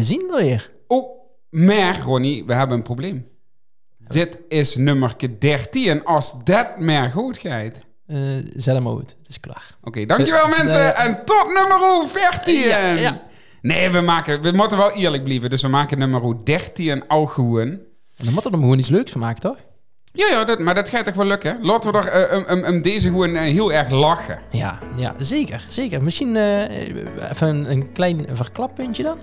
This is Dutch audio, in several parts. zien weer. Oh, maar Ronnie, we hebben een probleem. Dit is nummer 13. Als dat maar goed gaat. Oké, Eh, zet hem uit. Het is klaar. dankjewel Eh, mensen. eh, en tot nummer 13. Ja, ja. Nee, we, maken, we moeten wel eerlijk blijven. Dus we maken nummer 13 al gewoon. En dan moet er hem gewoon iets leuks van maken, toch? Ja, ja dat, maar dat gaat toch wel lukken? Laten we er eh, um, um, um, deze gewoon eh, heel erg lachen. Ja, ja zeker. zeker. Misschien eh, even een, een klein verklappuntje dan.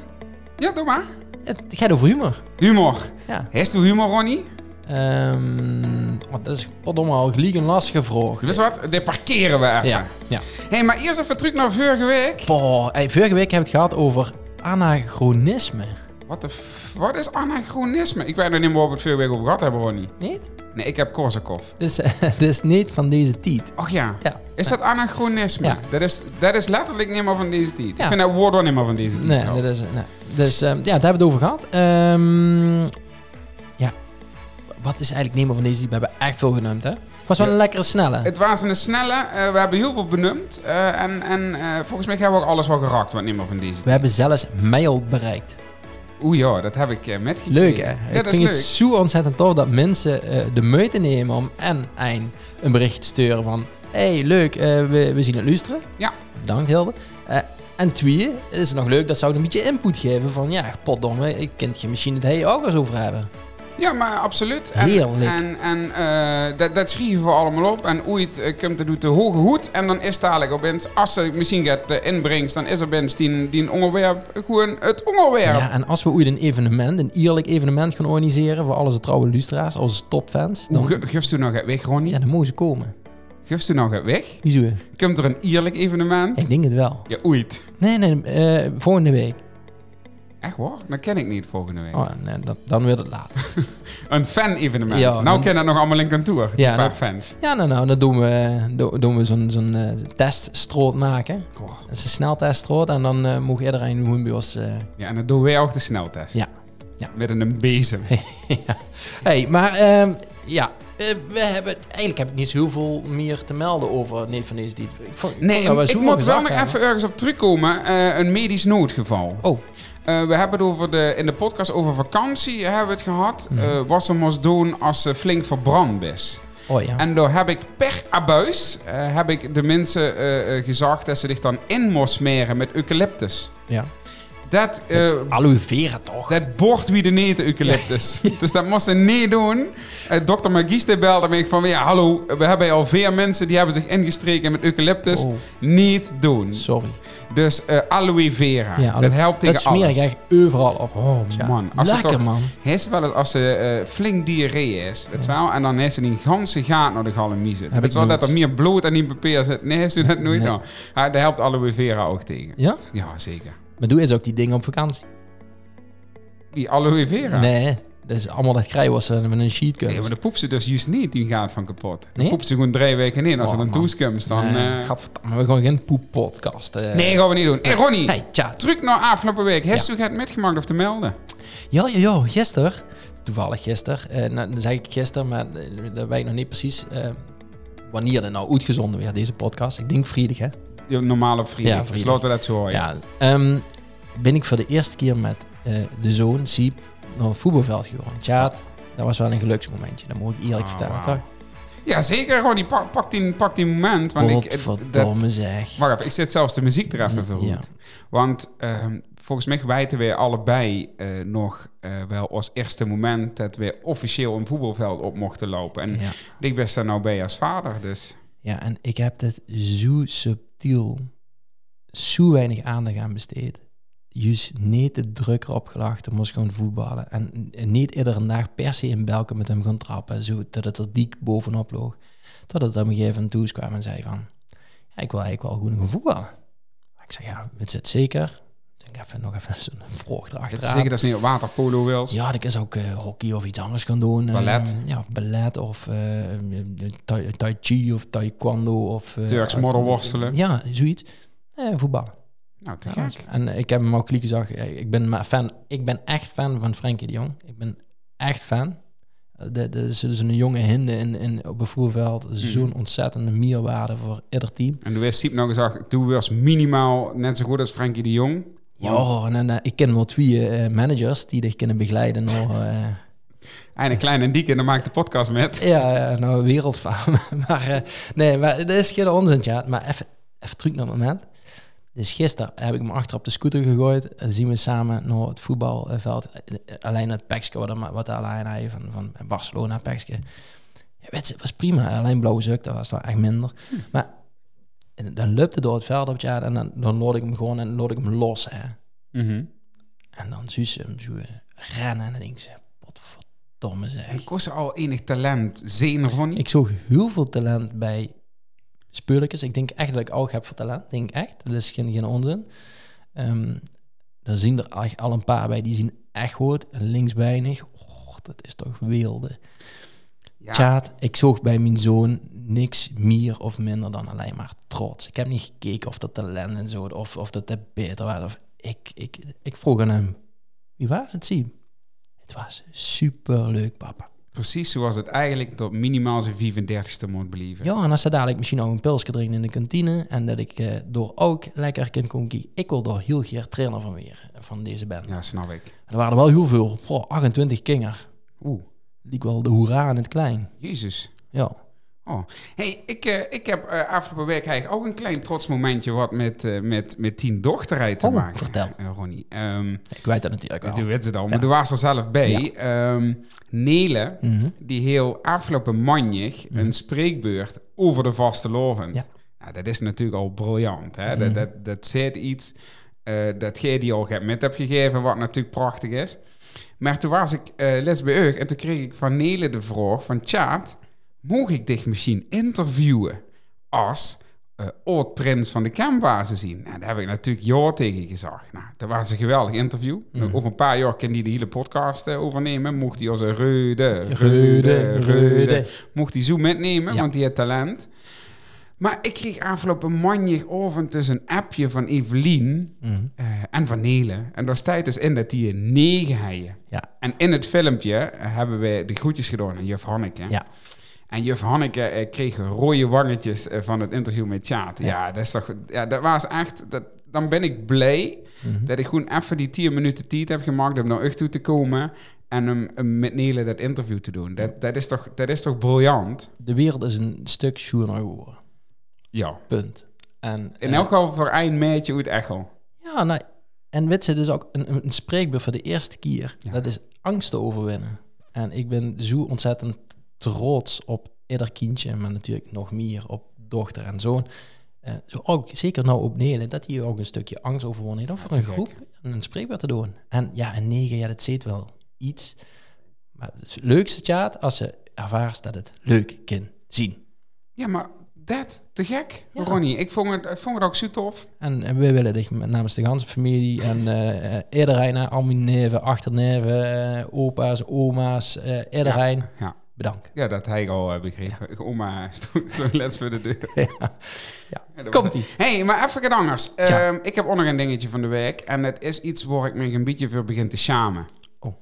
Ja, doe maar. Het gaat over humor. Humor. Ja. Heeft u humor, Ronnie? Ehm, oh, dat is potdomme al gelijk een lastige vraag. Weet je wat? Dit parkeren we even. Ja, ja. hey, maar eerst even terug naar vorige week. Boah, hey, vorige week hebben we het gehad over anachronisme. Wat de f- Wat is anachronisme? Ik weet nog niet meer wat we het vorige week over gehad hebben, Ronnie. Niet? Nee, ik heb Korsakov. Dus, eh, dus niet van deze tijd. Och ja. Ja. Is dat anachronisme? Ja. Dat, is, dat is letterlijk niet meer van deze tijd. Ja. Ik vind dat woord ook niet meer van deze tijd. Nee, zo. dat is, nee. Dus ehm, ja, daar hebben we het over gehad. Ehm, ja, wat is eigenlijk nemen van deze tijd? We hebben echt veel genoemd, hè? Het was wel Ja. een lekkere snelle. Het was een snelle. eh, we hebben heel veel benoemd. eh, en en eh, volgens mij hebben we ook alles wel geraakt wat niet meer van deze We hebben zelfs mijl bereikt. Oeh ja, dat heb ik eh, metgekregen. Leuk, hè? Ja, ik dat is vind leuk. het zo ontzettend tof dat mensen eh, de moeite nemen om en een, een bericht te sturen van... hey, leuk, eh, we, we zien het luisteren. Ja. Bedankt, Hilde. Eh, en twee, het is nog leuk dat ze ook een beetje input geven van... Ja, potdomme, ik kan je misschien het hele ook eens over hebben. Ja, maar absoluut. En, Heerlijk. En, en eh, dat, dat schrijven we allemaal op. En ooit eh, komt er doet de hoge hoed. En dan is dadelijk op eens, als ze misschien gaat eh, inbrengt, dan is er bent die, die onderwerp gewoon het onderwerp. Ja, en als we ooit een evenement, een eerlijk evenement gaan organiseren... voor alle onze trouwe luisteraars, onze topfans... Hoe Dan, ge- geeft u nou het weg, Ronnie? ja, dan mogen ze komen. Geeft u nou het weg? Wieso? Komt er een eerlijk evenement? Ik denk het wel. Ja, ooit. Nee, nee, eh, volgende week. Echt waar? Dat ken ik niet volgende week. Oh, nee, dan, dan weer het laat. Een fan-evenement. Ja, nou dan- ken dat nog allemaal in kantoor. Ja, een paar dat- fans. Ja, nou, nou, dan doen we, do- doen we zo'n zo'n eh, teststroot maken. Oh, Dat is een snelteststroot en dan eh mag iedereen gewoon bij ons... eh, Ja, en dat doen wij ook de sneltest. Ja. Ja. Met een bezem. ja. hey, maar ehm, ja, eh, we hebben, het- eigenlijk heb ik niet zo heel veel meer te melden over Nee van deze die. Ik vond, Nee, vond dat Oh, we ik zoveel moet wel gezag nog hebben. even ergens op terugkomen. Eh, een medisch noodgeval. Oh, Eh, we hebben het over de, in de podcast over vakantie hebben we het gehad. Mhm. Eh, wat ze moest doen als ze flink verbrand is. oh ja. En daar heb ik per abuis eh, heb ik de mensen eh eh, gezegd dat ze zich dan in moest smeren met eucalyptus. ja. Dat, eh, Het is aloe vera toch? dat bord wie de neet eucalyptus. dus dat moest ze niet doen. Eh dokter Magiste belde me van, ja hallo, we hebben al veel mensen die hebben zich ingestreken met eucalyptus. Oh. Niet doen. Sorry. Dus eh, aloe vera. Ja, aloe- dat helpt tegen dat smeer ik alles. echt overal op. Oh man, als het Lekker toch- man. Hij is wel eens als ze eh, flink diarree is, het wel, en dan heeft ze die ganse gaat naar de galamiezen. Heb Het is ik wel nooit. dat er meer bloed en die papier zit. Nee, heeft u dat nooit Nee. nou? Ja, daar helpt aloe vera ook tegen. Ja? Ja, zeker. Maar doe eens ook die dingen op vakantie. Die aloe vera. Nee. Nee, dat is allemaal dat krijgen was met een sheet maar dan poep ze dus juist niet, die gaat van kapot. Dan Nee? poep ze gewoon drie weken in. Als ze Oh, dan man. toeskumt, dan... nee, eh, gadverdamme, we gaan geen poeppodcast. eh. Nee, gaan we niet doen. Hey, Ronnie, Hey, tja. terug naar afgelopen week. Heeft u het metgemaakt of te melden? Ja, ja, ja, gisteren. Toevallig gisteren. eh nou, dan zeg ik gisteren, maar eh, dat weet ik nog niet precies. eh, wanneer er nou uitgezonden werd, deze podcast. Ik denk vrijdag, hè? Je normale vrienden. Ja, dus vrijdag. laten we dat zo horen. Ja. ehm, ben ik voor de eerste keer met eh, de zoon, Siep, naar het voetbalveld gegaan. Tja, dat was wel een geluksmomentje. Dat moet ik eerlijk Oh, vertellen, wauw. toch? Ja, zeker, Ronnie. Pak, pak, die, pak die moment. Want ik, eh, dat, Godverdomme zeg. Wacht even, ik zet zelfs de muziek er even voor goed. Ja. Want ehm, volgens mij wijten we allebei eh, nog eh, wel als eerste moment dat we officieel een voetbalveld op mochten lopen. En Ja. ik was daar nou bij als vader, dus... ja, en ik heb dit zo subtiel, zo weinig aandacht aan besteed. Juist niet de druk erop gelegd, dan moest gewoon voetballen. En niet iedere dag per se in Belken met hem gaan trappen, zo dat het er dik bovenop lag. Tot het op een gegeven moment toe is kwam en zei van, ja, ik wil eigenlijk wel gewoon gaan voetballen. Ik zeg, ja, het zit zeker. Ik denk even nog even zo'n vroeg Het erachteraan. is zeker dat ze niet op waterpolo wil. Ja, dat is ook eh, hockey of iets anders kan doen. Ballet. Eh, ja, of ballet of eh, eh, tai, tai chi of taekwondo of... eh, Turks modderworstelen. Ja, zoiets. Eh, voetballen. Nou, te Ja, gek. En ik heb hem ook kliek gezegd. eh, Ik ben, maar fan, ik ben echt fan van Frenkie de Jong. Ik ben echt fan. Eh, Dat dat is dus een jonge hinde in, in, op een voetbalveld. Hmm. Zo'n ontzettende meerwaarde voor ieder team. En toen wist Siep nog gezegd, toen was minimaal net zo goed als Frenkie de Jong. Ja, en, en, eh, ik ken wel twee eh, managers die dich kunnen begeleiden naar, eh, En een kleine en dieke, en dan maak ik de podcast met. ja, eh, naar wereldfaam. maar eh, nee, maar dat is geen onzin, ja. Maar even, even terug naar het moment. Dus gisteren heb ik hem achter op de scooter gegooid. En zien we samen naar het voetbalveld. Eh, Alleen het Pekske, wat, hem- wat alleen hij van, van Barcelona Pekske. Ja, weet je, het was prima. Alleen blauwe zuk, dat was dan echt minder. Maar en dan lupte door het veld op het jaar. En dan, dan lood ik hem gewoon en lood ik hem los, hè. Mhm. En dan zie ze hem zo rennen en dan denk ze, potverdomme zeg. En kost al enig talent, zenuw van niet. Ik zag heel veel talent bij speurlijkers. Ik denk echt dat ik oog heb voor talent. Denk ik echt. Dat is geen, geen onzin. Ehm daar zien er echt al een paar bij. Die zien echt goed. Links weinig. Och, dat is toch wilde. Ja. Tjaat, ik zoog bij mijn zoon niks meer of minder dan alleen maar trots. Ik heb niet gekeken of dat talent en zo, of, of dat het beter was. Of ik, ik, ik vroeg aan hem, wie was het, Siem? Het was superleuk, papa. Precies zoals het eigenlijk tot minimaal zijn 34ste moet blijven. Ja, en als ze dadelijk misschien nog een pilsje drinken in de kantine en dat ik eh, door ook lekker kan komen kijken. Ik wil door heel graag trainer van weer, eh, van deze band. Ja, snap ik. Er waren er wel heel veel. Goh, 28 kinger. Oeh, Liek wel de hoera in het klein. jezus. Ja. Oh. Hey, ik, eh, ik heb eh, afgelopen week eigenlijk ook een klein trots momentje wat met, eh, met, met tien dochterheid te Oh, maken. vertel. eh, Ronnie. Ehm, Ik weet dat natuurlijk wel. Dat doen we het dan, maar er was er zelf bij. Ehm, Nele, Mhm. die heel afgelopen manjig een spreekbeurt over de vaste lovend. Ja. Mhm. Nou, dat is natuurlijk al briljant. Hè? Dat, dat, dat zit iets eh, dat jij die al met hebt gegeven, wat natuurlijk prachtig is. Maar toen was ik eh les bij Eug en toen kreeg ik van Nele de vraag van... Tjaat, mocht ik dich misschien interviewen als eh oud-prins van de Kembazen zien? Nou, daar heb ik natuurlijk ja tegen gezegd. Nou, dat was een geweldig interview. Mhm. Nou, Over een paar jaar kan die de hele podcast eh, overnemen. Mocht hij als een reude, reude, Reude, reude... Reude. Mocht hij zo metnemen, Ja. want die had talent. Maar ik kreeg afgelopen manjig avond dus een appje van Evelien Mhm. eh, en van Nele. En daar staat dus in dat die een negen heien. Ja. En in het filmpje eh, hebben we de groetjes gedaan aan juf Hanneke. Ja. En juf Hanneke eh, kreeg rode wangetjes eh, van het interview met Tjaat. Ja, dat is toch... Ja, dat was echt... Dat, dan ben ik blij dat ik gewoon even die 10 minuten tijd heb gemaakt om naar Ucht toe te komen en hem hem met Nele dat interview te doen. Dat, dat, is, toch, dat is toch briljant? De wereld is een stuk schoener geworden. Ja. Punt. En, In eh, elk geval voor een meidje uit Echo. Ja, nou, en weet ze, dus ook een, een spreekbeurt voor de eerste keer. Ja. Dat is angsten overwinnen. En ik ben zo ontzettend trots op ieder kindje, maar natuurlijk nog meer op dochter en zoon. Eh, zo ook, zeker nou op Nelen, dat hij ook een stukje angst overwonnen heeft om voor te een gek. groep een spreekbeurt te doen. En ja, een negen, ja, dat zit wel iets. Maar het leukste, Tjaat, als ze ervaart dat het leuk kan zien. Ja, maar dat, te gek, Ja. Ronnie. Ik vond, het, ik vond het ook zo tof. En, en wij willen dich met- namens de ganse familie en eh, eh, iedereen, hè, al mijn neven, achterneven, eh, opa's, oma's, eh iedereen, Ja, bedankt. ja dat hij al eh, begrepen. Oma stond zo let's voor de deur. Ja. Ja, dat was Komt-ie. het. hey, maar even wat anders. Tja. Ehm, ik heb ook nog een dingetje van de week. En dat is iets waar ik me een beetje voor begin te schamen. Oh.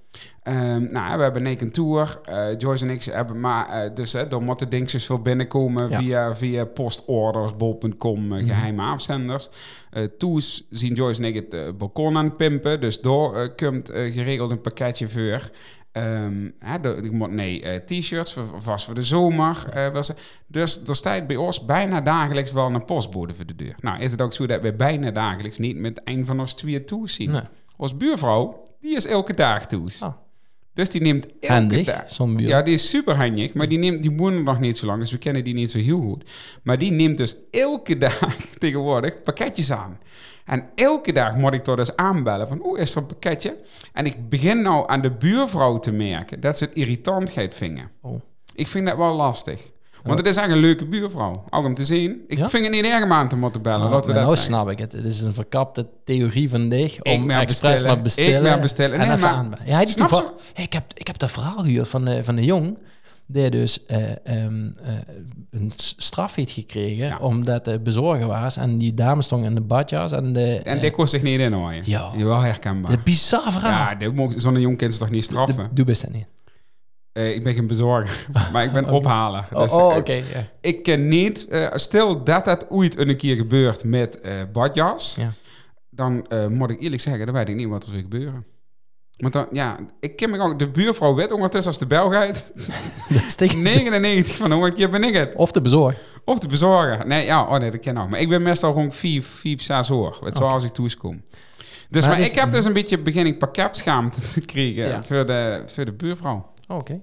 Ehm, nou, we hebben Naked Tour. eh, Joyce en ik hebben maar... eh, dus hè, dan moeten dingetjes veel binnenkomen Ja. Mhm. via, via postorders, bol.com, eh, geheime afzenders. Eh Toes zien Joyce en ik het eh, balkon aan het pimpen. Dus door eh, komt eh, geregeld een pakketje voor. Ehm, hè, de- ik moet- nee, eh, t-shirts, voor- voor- vast voor de zomer. eh, wel ze- dus er staat bij ons bijna dagelijks wel een postbode voor de deur. Nou, is het ook zo dat we bijna dagelijks niet met een van ons twee toes zien. Nee. Ons buurvrouw, die is elke dag toes. Ah. Dus die neemt elke Handig, dag... zo'n buur. Ja, die is super handig, maar die, neemt, die wonen nog niet zo lang, dus we kennen die niet zo heel goed. Maar die neemt dus elke dag tegenwoordig pakketjes aan. En elke dag moet ik toch dus aanbellen van, oeh, is er een pakketje? En ik begin nou aan de buurvrouw te merken dat ze het irritant gaat vingen. Oh. Ik vind dat wel lastig. Want het is eigenlijk een leuke buurvrouw, ook om te zien. Ik Ja? vind het niet erg om aan te moeten bellen, laten we Maar dat nou zeggen. snap ik het. Het is een verkapte theorie van dich Ik om maar expres bestellen. maar bestellen. Ik maar bestellen. En Nee, even maar- aan. Ja, hij die Snap toeval- Hey, ik, heb, ik heb dat verhaal gehoord van de, van de jong. Die dus eh, ehm, eh, een s- straf heeft gekregen Ja. omdat de bezorger was. En die dame stond in de badjas. En de, En eh, die kon zich niet inhouden. Ja. Wel herkenbaar. de bizar verhaal. ja, dat mocht- zo'n jong kind is toch niet De- straffen? doe best dat niet. Eh, ik ben geen bezorger, maar ik ben ophaler. Oh, Dus, oh, eh, oké. ja. Ik ken niet, eh, stel dat dat ooit een keer gebeurt met eh badjas, Ja. dan eh, moet ik eerlijk zeggen, dan weet ik niet wat er zou gebeuren. Want dan, ja, ik ken me ook, de buurvrouw weet ondertussen als de bel gaat. Dat is tegen- 99 van de 100 keer ben ik het. Of de bezorg. Of de bezorger. Nee, ja, oh nee, dat ken ik. Maar ik ben meestal rond 4, 5, 6 uur. Het zal als ik thuiskom. Dus, Maar maar dus- ik heb dus een beetje beginning pakketschaamte te krijgen Ja. voor, de, voor de buurvrouw. Oh, Oké.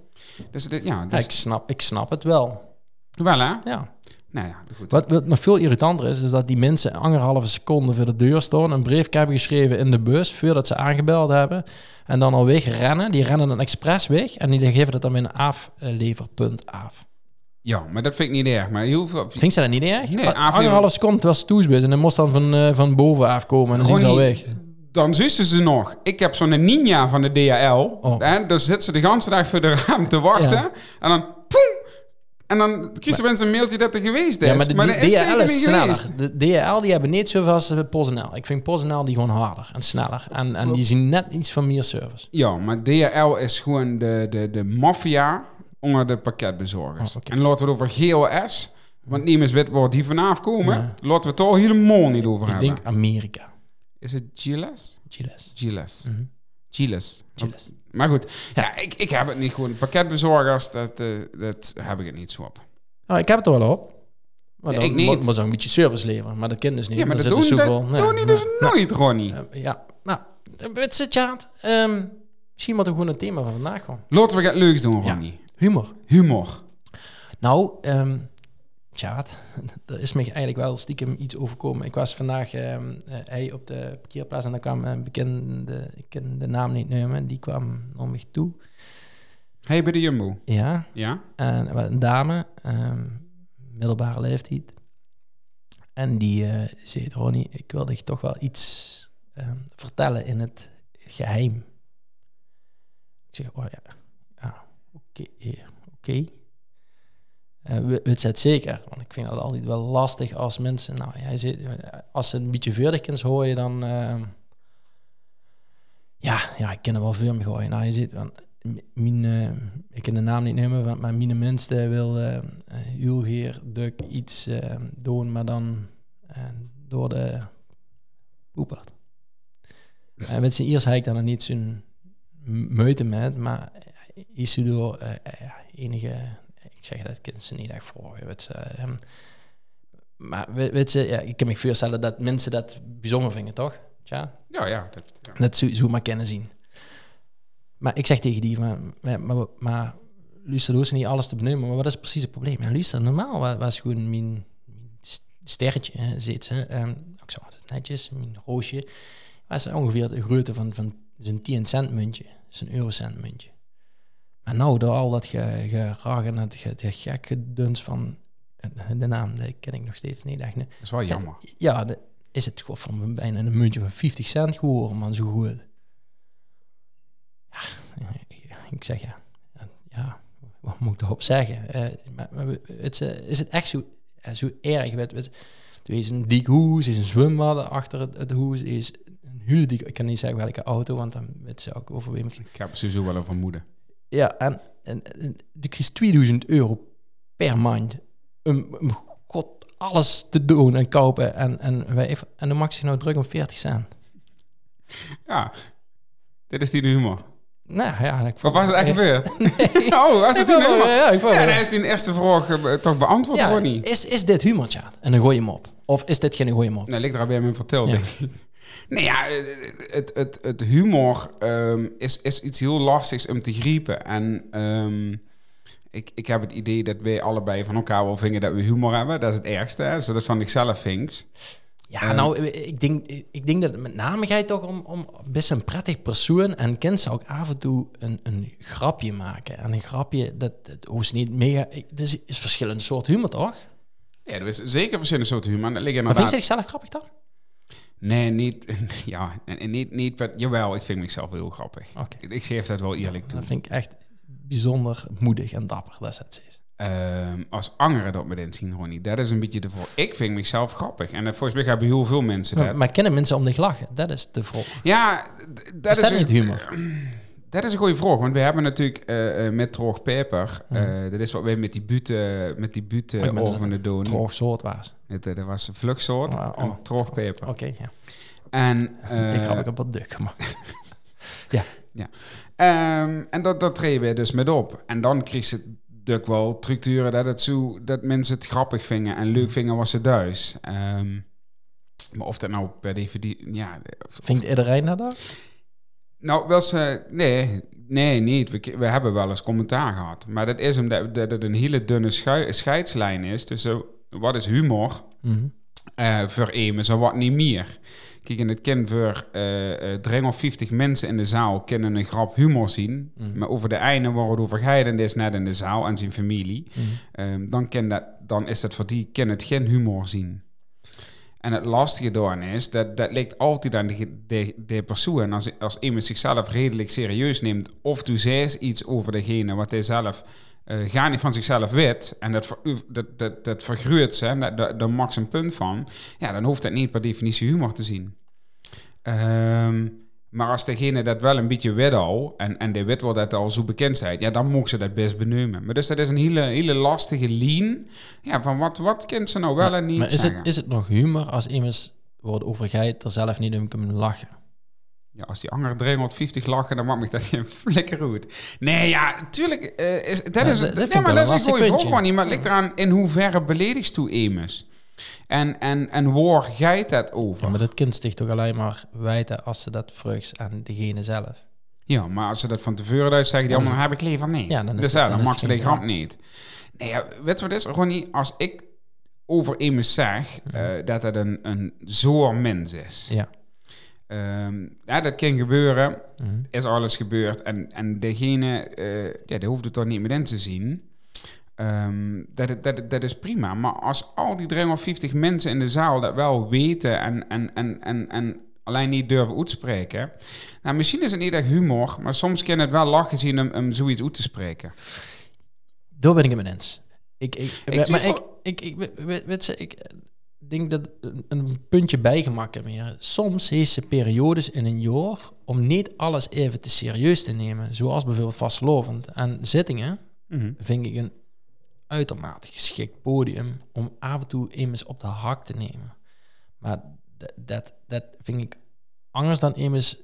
Dus dit- ja, Ja, dus, ik, snap, ik snap het wel. wel hè? Ja. Nou ja, goed. Wat, wat nog veel irritanter is, is dat die mensen anderhalve seconde voor de deur staan, een briefje hebben geschreven in de bus, voordat ze aangebeld hebben, en dan al wegrennen. Die rennen dan expres weg en die geven dat dan weer een afleverpunt af. Ja, maar dat vind ik niet erg. Maar heel veel... Vind ze dat niet erg? Nee, Maar aflever- Anderhalve seconde was toesbus en dan moest dan van, eh, van boven afkomen en dan zien ze al Ronnie, weg. Dan zussen ze nog. Ik heb zo'n ninja van de DHL. Oh. Hè? Dan zit ze de ganse dag voor de raam te wachten. Ja. En dan... poem! en dan kiezen mensen een mailtje dat er geweest is. Ja, maar de, dat DHL is zeker is niet sneller. geweest. De DHL die hebben niet zoveel als de PostNL. Ik vind PostNL die gewoon harder en sneller. En, en die zien net iets van meer service. Ja, maar DHL is gewoon de, de, de maffia onder de pakketbezorgers. Oh, oké. En laten we het over GOS, want niemand weet waar die vanaf komen. Laten we het al helemaal niet over Ik hebben. denk Amerika. Is het Giles? Chiles. Giles. Mhm. Giles. Chiles. Maar goed, ja. ik, ik heb het niet gewoon. Pakketbezorgers, dat, eh, dat heb ik het niet zo op. Nou, ik heb het er wel op. Maar Ja, dan ik niet. moet- moet ze ook een beetje service leveren. Maar dat kind dus niet. Ja, maar Dan dat doen, zit er dat zoveel- nee, doen die nee. dus nooit, Ronnie. Eh, Ja, nou. Wat zit je aan? Ehm, Misschien moeten we gewoon het thema van vandaag gewoon. Laten we het leuks doen, Ja. Ronnie. Humor. Humor. Nou, ehm Tjaat, er is me eigenlijk wel stiekem iets overkomen. Ik was vandaag ehm, eh, hij op de parkeerplaats en daar kwam een bekende, ik kan de naam niet noemen, die kwam naar mij toe. Hey, bij de Jumbo. Ja, Ja? en er was een dame, ehm, middelbare leeftijd. En die eh, zei, Ronnie, ik wil dich toch wel iets ehm, vertellen in het geheim. Ik zeg, oh ja, ja oké. eh, oké. Eh, we weet ze het zeker? Want ik vind dat altijd wel lastig als mensen... Nou, hij zit, als ze een beetje veerdigkens hoor dan... ehm, ja, ja, ik ken er wel veel mee gooien. Nou, je ziet, want m- mijn, eh, ik kan de naam niet noemen, want- maar mijn minste wil eh, eh, heel geer duk iets eh, doen, maar dan eh, door de poepert. En met zijn eerst heb ik daar nog niet zo'n m- moeite met, maar is ze door eh, eh, ja, enige, ik zeg dat kind ze niet echt vragen, weet ze, ehm. maar weet, weet ze, ja, ik kan me voorstellen dat mensen dat bijzonder vinden, toch? Tja. Ja, ja. Dat, ja. Dat zo, zo maar kennen zien. Maar ik zeg tegen die, maar, maar, maar, maar luister, hoeft ze niet alles te benoemen, maar wat is precies het probleem? En luister, normaal wa- was gewoon mijn st- sterretje, hè, zit ze, ehm, ook zo netjes, mijn roosje, was ongeveer de grootte van, van zo'n 10 cent muntje, zo'n eurocent muntje. Maar nou, door al dat ge- gerag en dat ge- ge- gek geduns van eh, de naam, die ken ik nog steeds niet echt. nee. dat is wel jammer. Ja, de- is het gewoon van bijna een muntje van 50 cent geworden, man, zo goed. Ja, ik- ik zeg ja. Ja, wat moet ik erop zeggen? Eh, maar, maar het, is, eh, is het echt zo, eh, zo erg? Weet, weet, er is een dik hoes, er is een zwembad achter het, het hoes, er is een hele dik... Ik kan niet zeggen welke auto, want dan weet ze ook over wie het Ik heb sowieso wel een vermoeden. ja, en, en, en je krijgt 2000 euro per maand om, om god alles te doen en kopen. En, en, wij, en dan maak je nou druk om 40 cent. Ja. Dit is die de humor. Nou ja, ik Wat was er echt ik- gebeurd? Nee. Oh, was dat die Ik vond wel- humor? ja, ik vond Ja, wel- dan is die eerste vraag eh, toch beantwoord, Ja, Ronnie. niet. is, is dit humor, chat? En dan gooi je hem op. Of is dit geen gooi hem op? Nou, ligt er al bij mijn vertel, Ja. denk ik. Nee, ja, eh, het, het, het humor ehm, is, is iets heel lastigs om te griepen. En ehm, ik, ik heb het idee dat wij allebei van elkaar wel vingen dat we humor hebben. Dat is het ergste, hè. Zodat van ikzelf vinks. Ja, Eh. nou, ik denk, ik denk dat het met name gaat toch om, om best een prettig persoon. En kind zou ik af en toe een, een grapje maken. En een grapje, dat, dat hoeft niet mega... Het is, is verschillend soort humor, toch? Ja, er is zeker verschillende soorten humor. En Dat ligt Maar vind inderdaad... je zichzelf grappig dan? Nee, niet... Ja, en, en niet, niet... wat- Jawel, ik vind mezelf heel grappig. Oké. Ik, ik geef dat wel eerlijk toe. Dat vind ik echt bijzonder moedig en dapper dat ze het is. Ehm, als angeren dat me dit zien, Ronnie. Dat is een beetje de voor. Ik vind mezelf grappig. En dat volgens mij hebben heel veel mensen dat. Maar kennen mensen om zich lachen? Dat is de vraag. ja, d- dat is, Is dat een, niet humor? dat is een goede vraag. Want we hebben natuurlijk eh, eh, met droog peper. eh, dat is wat wij met die buten, met die Oh, ik buten ben over de doen. Droog soort was. Het, eh, Dat was een vluchtsoort. Oh, oh. en droog peper. Oké, ja. En, eh, ik heb ook wat duk gemaakt. Ehm, en dat, dat treden we dus met op. En dan kreeg ze natuurlijk wel structuren dat, het zo, dat mensen het grappig vingen en leuk vingen was ze thuis. Ehm, maar of dat nou per definitie... Ja, of- Vindt iedereen dat dan? nou, wel ze... Nee, nee niet. We, k- we hebben wel eens commentaar gehad. Maar dat is omdat dat het een hele dunne schui- scheidslijn is tussen wat is humor Mhm. eh voor Emes en wat niet meer. Kijk, in het kind voor eh, eh, 350 mensen in de zaal kunnen een grap humor zien. Mhm. Maar over de einde waar het over gaat, en die is net in de zaal en zijn familie. Mhm. ehm, dan, kan dat, dan is dat voor die kan het geen humor zien. En het lastige daaraan is, dat, dat ligt altijd aan de, ge- de, de persoon. Als, als iemand zichzelf redelijk serieus neemt, of toen zegt iets over degene wat hij zelf eh gar niet van zichzelf weet, en dat, ver- dat, dat, dat vergroot ze, en daar- daar daar maakt ze een punt van, ja, dan hoeft dat niet per definitie humor te zien. Ehm, maar als degene dat wel een beetje weet al, en, en die weet wel dat er al zo bekend zijn, ja, dan mogen ze dat best benoemen. Maar dus dat is een hele, hele lastige lean, ja, van wat, wat kent ze nou wel en niet Maar is zeggen. het, is het nog humor als iemand wordt overgeit er zelf niet om kunnen lachen? Ja, als die anger 350 lachen, dan maakt me dat geen flikker uit. Nee, ja, tuurlijk. eh, is, dat Ja, is, dat- dat nee, vind ik maar wel een dat is een lastig goede vraag, puntje. Ronnie. Maar het ligt eraan in hoeverre beledigst toe Emus. En, en, en waar geit dat over? Ja, maar dat kind sticht toch alleen maar wijten als ze dat vreugd aan degene zelf. als ze dat van tevoren uit zeggen, die Dan is allemaal heb ik liever niet. Ja, dan is dus het- ja, dan dan is mag het ze geen die grap grap. niet. Nee, ja, weet je wat het is, Ronnie? Als ik over Emus zeg eh, dat het een, een zoor mens is. Mhm. Ja. Ehm, ja, dat kan gebeuren. Mhm. is alles gebeurd. En, en degene, eh ja, die hoeft het dan niet meer in te zien. Ehm, dat, het- dat, het- dat is prima. Maar als al die 350 mensen in de zaal dat wel weten en, en, en, en, en alleen niet durven uitspreken. Nou, misschien is het niet echt humor, maar soms kan het wel lachen zien om, om zoiets uit te spreken. Daar ben ik het mee eens. Ik, ik, maar ik, twijfel- ik, ik, we- we- weet ze, ik eh, denk dat een- een puntje bijgemak hebben hier. Soms heeft ze periodes in een jaar om niet alles even te serieus te nemen. Zoals bijvoorbeeld vastlovend. En zittingen Mhm. vind ik een uitermate geschikt podium om af en toe immers op de hak te nemen. Maar d- dat, dat vind ik anders dan immers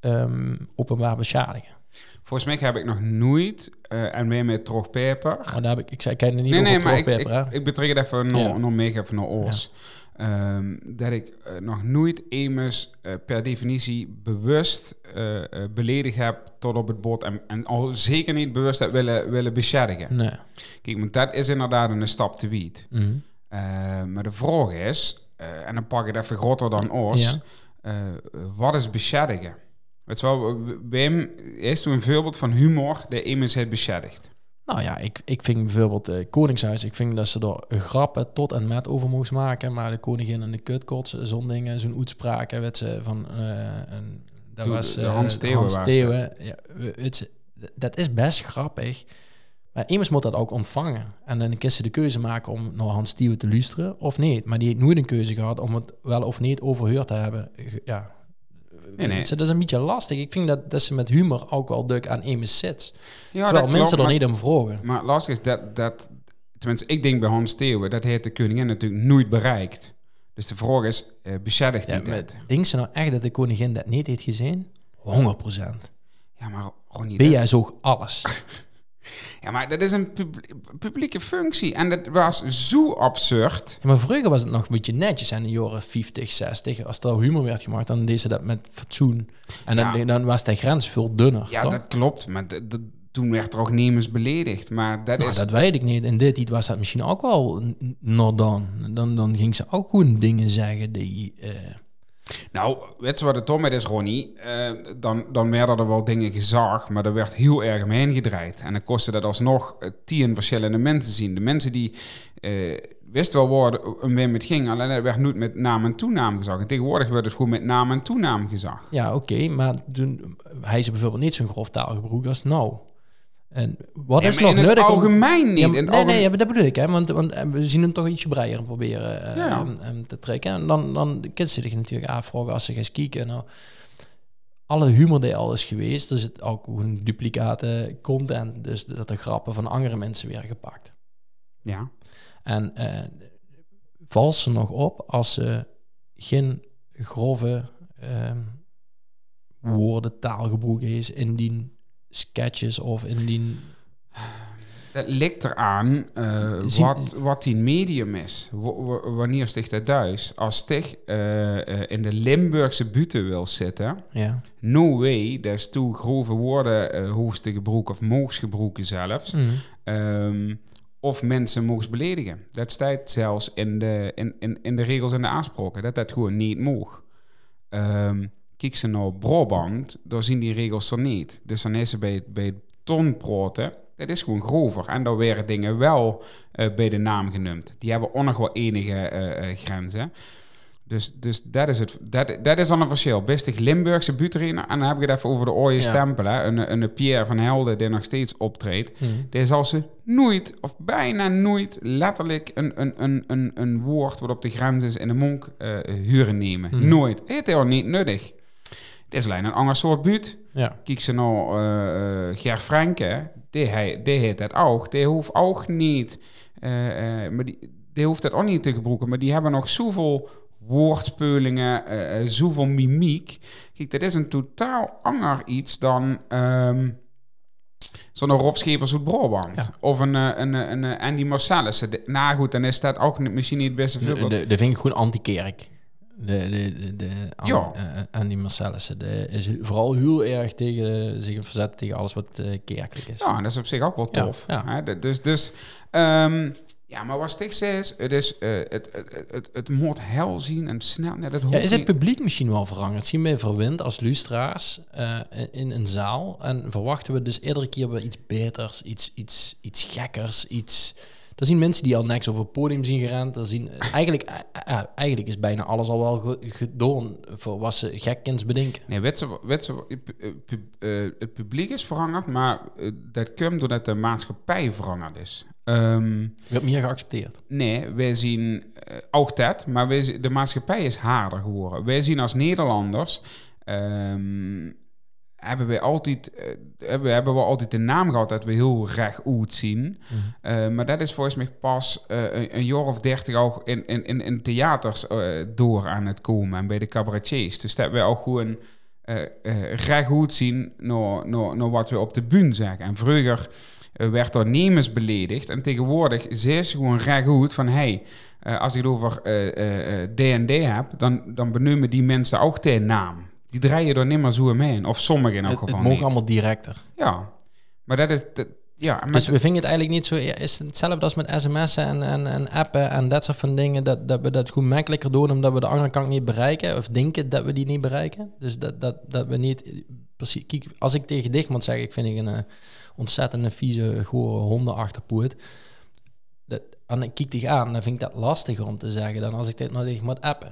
ehm, openbaar beschadigen. Volgens mij heb ik nog nooit, eh, en weer met Trogpeper, Maar daar heb ik, ik zei, ik ken er niet Nee, over nee, maar ik, Trogpeper, ik, hè? ik betrek het even nog Ja. nog mega van de oors. Ehm, dat ik eh, nog nooit Emus eh, per definitie bewust eh, eh, beledigd heb tot op het bot. En, en al zeker niet bewust heb willen, willen beschadigen. Nee. Kijk, want dat is inderdaad een stap te wiet. Mhm. Eh, maar de vraag is, eh, en dan pak ik het even groter dan ons, Ja. eh, wat is beschadigen? Weet je wel, Wim, is een voorbeeld van humor de Emus heeft beschadigd. Nou ja, ik, ik vind bijvoorbeeld eh, Koningshuis, ik vind dat ze er grappen tot en met over moest maken, maar de koningin en de kutkots, eh, zo'n dingen, zo'n uitspraken, weet ze, van... eh, een, dat Toen was de eh, Hans Theeuwen was dat. Theeuwen. Ja, we- weet ze, d- dat is best grappig, maar immers moet dat ook ontvangen. En dan kan ze de keuze maken om naar Hans Theeuwen te luisteren of niet, maar die heeft nooit een keuze gehad om het wel of niet overheurd te hebben. Ge- Ja. Nee, nee. Weet ze, Dat is een beetje lastig. Ik vind dat, dat ze met humor ook wel duk aan immers zit. Ja, terwijl dat klopt, mensen er maar- niet om vragen. Maar het lastige is dat, dat, tenminste, ik denk bij Hans Theeuwen, dat heeft de koningin natuurlijk nooit bereikt. Dus de vraag is, eh beschadigt hij Ja, maar dat? denkt ze nou echt dat de koningin dat niet heeft gezien? 100 procent. Ja, maar Ronnie, dat- BS ook alles. ja, maar dat is een publie- publieke functie. En dat was zo absurd. Ja, maar vroeger was het nog een beetje netjes. En in de jaren 50, 60, als er humor werd gemaakt, dan deed ze dat met fatsoen. En dan, Ja. dan was de grens veel dunner. Ja, toch? dat klopt. Maar d- d- toen werd er ook nemens beledigd. Maar dat Nou, is... dat weet ik niet. In dit tijd was dat misschien ook wel n- not done. Dan, dan ging ze ook gewoon dingen zeggen die... eh, Nou, weet je wat het toch met is, Ronnie? Eh, dan, dan werden er wel dingen gezaagd, maar er werd heel erg omheen gedraaid. En dan kostte dat alsnog eh, tien verschillende mensen zien. De mensen die eh, wisten wel waar de- om wem het ging, alleen dat werd nooit met naam en toenaam gezag. En tegenwoordig werd het gewoon met naam en toenaam gezag. ja, oké, maar toen, hij is bijvoorbeeld niet zo'n grof taalgebruik als nou. En wat Ja, is maar nog in het nodig om- algemeen niet. Ja, In nee, het algemeen- nee, ja, maar dat bedoel ik, hè? Want, want eh, we zien hem toch ietsje breier proberen eh, Ja. hem- hem te trekken. En dan, dan kan ze zich natuurlijk afvragen als ze gaan kijken. Nou, alle humor die al is geweest, er zit ook gewoon duplicate content. Dus dat de grappen van andere mensen weer gepakt. Ja. En eh valt ze nog op als ze geen grove, eh, ehm, woorden, taalgebruik is in die sketches of in die... Dat ligt eraan eh, Zie- wat, wat die medium is. W- w- wanneer sticht dat thuis? Als Stig eh, eh, in de Limburgse buiten wil zitten, Ja. no way, dat is toe grove woorden eh hoogste gebroek of moogs gebroeken zelfs. Mhm. Ehm, of mensen mogen beledigen. Dat staat zelfs in de, in, in, in de regels en de aanspraken, dat dat gewoon niet mag. Ehm, kijk ze naar Brabant, daar zien die regels er niet. Dus dan is ze bij, bij het tonproten, dat is gewoon grover. En daar werden dingen wel eh, bij de naam genoemd. Die hebben ook nog wel enige eh, eh, grenzen. Dus, dus dat, is het, dat, dat is dan een verschil. Bistig Limburgse buurtrainer, en dan heb ik het even over de ooie Ja. stempel. Hè. Een, een Pierre van Helden die nog steeds optreedt. Mhm. Er zal ze nooit, of bijna nooit, letterlijk een, een, een, een, een woord wat op de grens is in de monk eh, huren nemen. Mhm. Nooit. Het is al niet nuttig. Het is alleen een ander soort buurt. Ja. Kijk ze nou eh, eh, Ger Franke, die, hij, die heet dat ook. Die hoeft ook niet, eh, eh, maar die, die hoeft dat ook niet te gebruiken. Maar die hebben nog zoveel woordspelingen, eh, eh, zoveel mimiek. Kijk, dat is een totaal ander iets dan ehm, zo'n Rob Schepers uit Brabant. Ja. Of een, eh, een, eh, een, eh, Andy Marcellus. Nou goed, dan is dat ook niet- misschien niet het beste De, voorbeeld. de, de vind ik gewoon anti-kerk. De, de, de, de, an- Ja. eh, Andy Marcellissen. De is vooral heel erg tegen, eh, zich verzet tegen alles wat eh, kerkelijk is. Ja, en dat is op zich ook wel Ja, tof. ja. Hè? De- Dus, dus ehm, ja, maar wat Stig zei is, het, is, eh, het, het, het, het moet hel zien en snel. Nee, dat hoort Ja, is het niet. publiek misschien wel veranderd? Zien wij verwend als lustra's eh, in een zaal en verwachten we dus iedere keer weer iets beters, iets, iets, iets gekkers, iets... Er zien mensen die al niks over het podium zien gerend. Er zien, eigenlijk, eh, eh, eigenlijk is bijna alles al wel ge- gedaan voor wat ze gekkens bedenken. Nee, weet ze- weet ze- eh, pu- eh, het publiek is veranderd, maar eh, dat komt doordat de maatschappij veranderd is. Ehm, Je hebt meer geaccepteerd. Nee, wij zien eh, ook dat, maar wij, zi- de maatschappij is harder geworden. Wij zien als Nederlanders. ehm, hebben we altijd, eh, hebben, we- hebben we altijd de naam gehad dat we heel recht uit zien. Eh, maar dat is volgens mij pas eh, een, een jaar of dertig ook in, in, in, in theaters eh, door aan het komen en bij de cabaretiers. Dus dat we ook gewoon eh eh, recht goed zien naar, naar, naar wat we op de bühne zeggen. En vroeger eh, werd door nemers beledigd en tegenwoordig zeer ze gewoon recht goed van hey, eh, als ik het over eh, eh, eh, D&D heb, dan, dan benoemen die mensen ook de naam. Die draaien er niet meer zo mee in, of sommigen in elk Het, het geval mogen niet. allemaal directer. Ja, maar dat is... dat- ja, maar Dus we vingen het eigenlijk niet zo. ja, Is het hetzelfde als met sms'en en, en, en appen en dat soort van dingen. Dat, dat we dat goed makkelijker doen omdat we de andere kant niet bereiken. Of denken dat we die niet bereiken. Dus dat, dat, dat we niet. eh, Precies, kijk, als ik tegen Dichtman zeg, ik vind ik een eh, ontzettende vieze, gore hondenachterpoet. Dat, en ik kijk tegen aan, dan vind ik dat lastiger om te zeggen dan als ik dit nou tegen moet appen.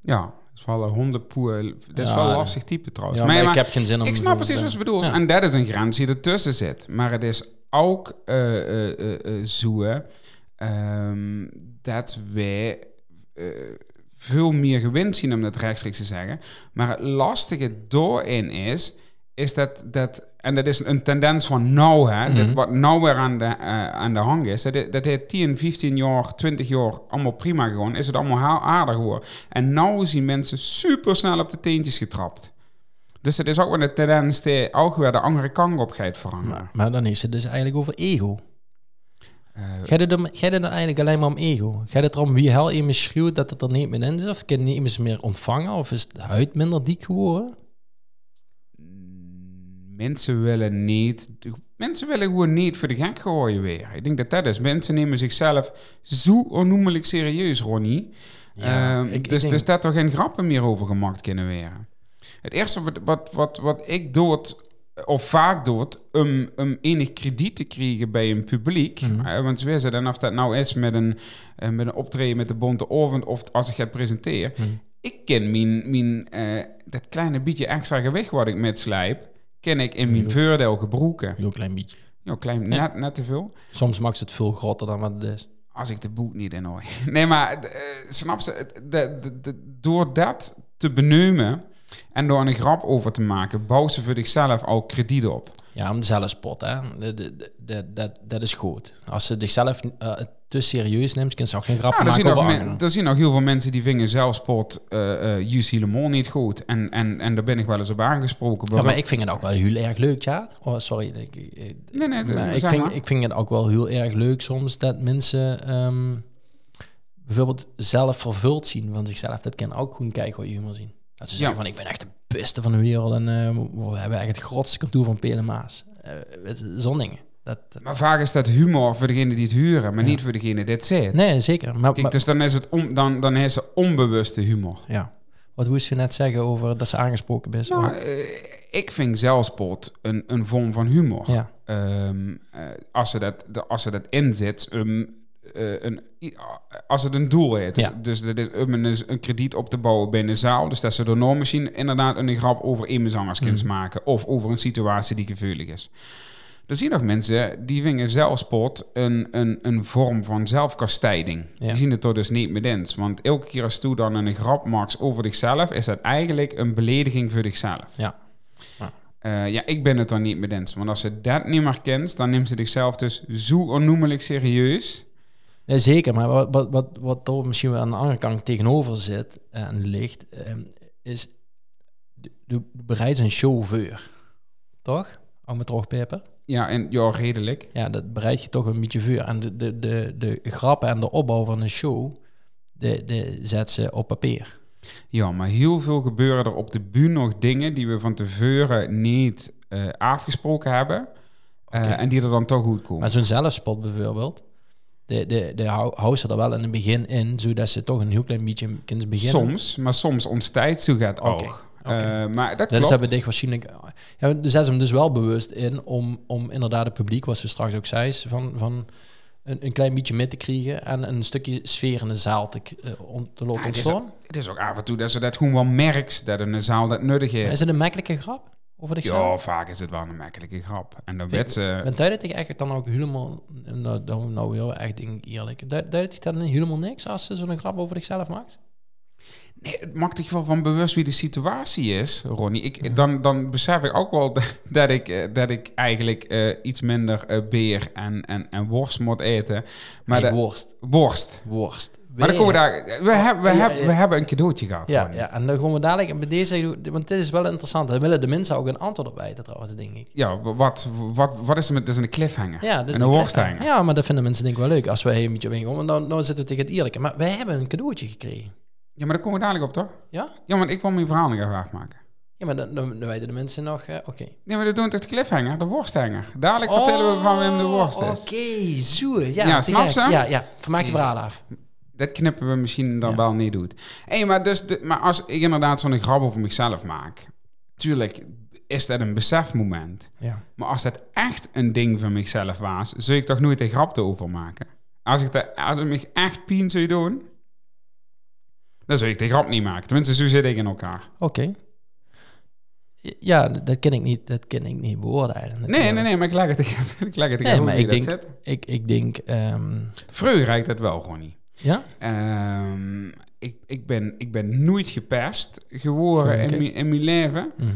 Ja, dat is wel een hondenpoer. Dat is Ja, wel een dat- lastig type trouwens. Ja, maar, maar, ja, ik maar heb geen zin om. ik, snap precies wat je bedoelt. Ja. En dat is een grens die ertussen zit. Maar het is ook eh eh, eh, eh, zo ehm, dat wij eh, veel meer gewend zien om dat rechtstreeks te zeggen. Maar het lastige doorin is, is dat, dat en dat is een tendens van nou, hè, Mhm. dat wat nou weer aan de, eh, aan de hang is, dat, he- dat heeft 10, 15 jaar, 20 jaar allemaal prima gewoon, is het allemaal heel aardig geworden. En nou zien mensen super snel op de teentjes getrapt. Dus dat is ook weer de tendens die ook weer de andere kant op gaat veranderen. Maar, maar dan is het dus eigenlijk over ego. Eh, Gaat het, om, gaat het dan eigenlijk alleen maar om ego? Gaat het erom wie hel iemand schreeuwt dat het er niet meer in is? Of kan niemand meer ontvangen? Of is de huid minder dik geworden? mensen willen niet. Mensen willen gewoon niet voor de gek gooien weer. Ik denk dat dat is. Mensen nemen zichzelf zo onnoemelijk serieus, Ronnie. Ja, Ehm, ik- ik dus, denk- dus dat er geen grappen meer over gemaakt kunnen worden. Het eerste wat, wat, wat, wat ik doe, of vaak doe, om, om enig krediet te krijgen bij een publiek. Mhm. Eh, want ze weten dan of dat nou is met een, eh, met een optreden met de Bonte Oven of als ik het presenteer. Ik ken mijn, mijn, eh, dat kleine beetje extra gewicht wat ik met slijp, ken ik in mijn voordeel gebroken. Heel klein beetje. Ja, klein, net, net te veel Soms maakt het veel groter dan wat het is. als ik de boek niet in hoor. Nee, maar eh, snap ze? het- de- de- de- door dat te benoemen en door een grap over te maken, bouwt ze voor zichzelf al krediet op. Ja, om dezelfde spot, hè. De- de- de- de- Dat dat is goed. Als ze zichzelf eh, het te serieus neemt. Je kunt ook geen grap Ja, Nou, er maken zien, nog over men- anderen. er zien nog heel veel mensen die vingen zelfspot eh eh UC Le Mans niet goed. En, en, en daar ben ik wel eens op aangesproken. Ja, maar Waarom- ik vind het ook wel heel erg leuk, ja. Oh, sorry. Ik, ik- nee, nee, maar ik, eh, zeg vind, maar. ik vind het ook wel heel erg leuk soms dat mensen ehm, bijvoorbeeld zelf vervuld zien van zichzelf. Dat kan ook goed kijken hoe je humor zien. Dat ze zeggen Ja. van ik ben echt de beste van de wereld en eh, we hebben echt het grootste kantoor van Pelemaas. Eh het- Zo'n dingen. Dat, dat- Maar vaak is dat humor voor degene die het huren, maar Ja. niet voor degene die het zit. nee, zeker. Maar, Kijk, maar- dus dan is het on- dan, dan is het onbewuste humor. ja. Wat moest je net zeggen over dat ze aangesproken is? Nou, Oh, eh, ik vind zelfspot een, een vorm van humor. ja. Ehm, eh, als, ze dat, de- als ze dat inzet, ehm, eh, een, i- als het een doel heeft. Dus, Ja. dus dat is om een, een krediet op te bouwen bij een zaal. Dus dat ze door misschien inderdaad een grap over eenmezangerskens Mhm. maken. Of over een situatie die gevoelig is. Er zien nog mensen die vinden zelfspot een, een, een vorm van zelfkastijding. Ja. Die zien het er dus niet met eens. Want elke keer als toe dan een grap maakt over zichzelf, is dat eigenlijk een belediging voor zichzelf. Ja. Ja. Eh, ja, ik ben het dan niet met eens. Want als ze dat niet meer kent, dan neemt ze zichzelf dus zo onnoemelijk serieus. Nee, zeker, maar wat, wat, wat, wat er misschien wel aan de andere kant tegenover zit eh, en ligt, ehm, is de, de bereid een chauffeur. Toch? Ook met roogpeper. Ja, en ja, redelijk. Ja, dat bereid je toch een beetje vuur. En de, de, de, de grappen en de opbouw van een show, de, de zet ze op papier. Ja, maar heel veel gebeuren er op de buur nog dingen die we van tevoren niet eh, afgesproken hebben. Eh, Oké. En die er dan toch goed komen. Maar zo'n zelfspot bijvoorbeeld, de, de, de hou- houdt ze er wel in het begin in, zodat ze toch een heel klein beetje kunnen beginnen. Oh, Soms, maar soms ontstijdt zo gaat ook. Oké, oké. Eh, maar dat Dat klopt. is Dus hebben dicht waarschijnlijk. Ja, dus zet ze hem dus wel bewust in om, om inderdaad het publiek, wat ze straks ook zei, is van, van een, een klein beetje mee te krijgen en een stukje sfeer in de zaal te, k- eh, om te Ja, lopen Ah, het, is ontstaan. ook, het is ook af en toe dat ze dat gewoon wel merkt, dat een zaal dat nodig Maar Is heeft. het een makkelijke grap over zichzelf? Ja, vaak is het wel een makkelijke grap. En dan werd ze... Want duidt ik echt dan ook helemaal, nou, dan- nou heel echt denk ik eerlijk, duidt ik dan helemaal niks als ze zo'n grap over zichzelf maakt? Nee, het maakt toch wel van bewust wie de situatie is, Ronnie. Ik, dan, dan besef ik ook wel dat ik, eh, dat ik eigenlijk eh, iets minder eh, beer en, en, en worst moet eten. Maar Nee, de, worst, worst. worst. Maar dan komen we daar... We, hebben we, Ja, hebben- we ja. hebben een cadeautje gehad, Ja, Ronnie. ja, en dan gaan we dadelijk bij deze, want dit is wel interessant. Daar willen de mensen ook een antwoord op weten trouwens, denk ik. Ja, wat, wat, wat is er met... Dat is een cliffhanger. Ja, dus en een ik- worst hangen. Ja, maar dat vinden mensen denk ik wel leuk als wij een beetje op ingaan. Want dan, dan zitten we tegen het eerlijke. Maar wij hebben een cadeautje gekregen. Ja, maar daar komen we dadelijk op, toch? Ja? Ja, want ik wil mijn verhaal nog even afmaken. Ja, maar dan, dan, dan weten de mensen nog... eh, Oké. Nee, maar dat doen we het cliffhanger, de worsthanger. Dadelijk vertellen we van Wim de worst Oh, Oké, is. zo. Ja, Ja, te snap gek. ze? Ja, ja. Vermaak je verhaal af. Dat knippen we misschien dan Ja. wel niet doet. Hé, maar, dus de- maar als ik inderdaad zo'n grap over mezelf maak... Tuurlijk is dat een besefmoment. Ja. Maar als dat echt een ding van mezelf was... zou ik toch nooit een grap erover maken? Als ik dat, als het me echt pijn zou doen... dan zou ik de grap niet maken. Tenminste, zo zit ik in elkaar. Oké. Ja, dat ken ik niet, dat ken ik niet beoordelen. Nee, natuurlijk. nee, nee, maar ik leg het even- ik leg het Nee, even maar hoe ik dat denk- zit. Ik, ik denk... ehm, Vreugde reikt dat wel, Ronnie. ja? Ehm, ik, ik, ben, ik ben nooit gepest geworden in, Gelukkig. mijn- in mijn leven. Mhm.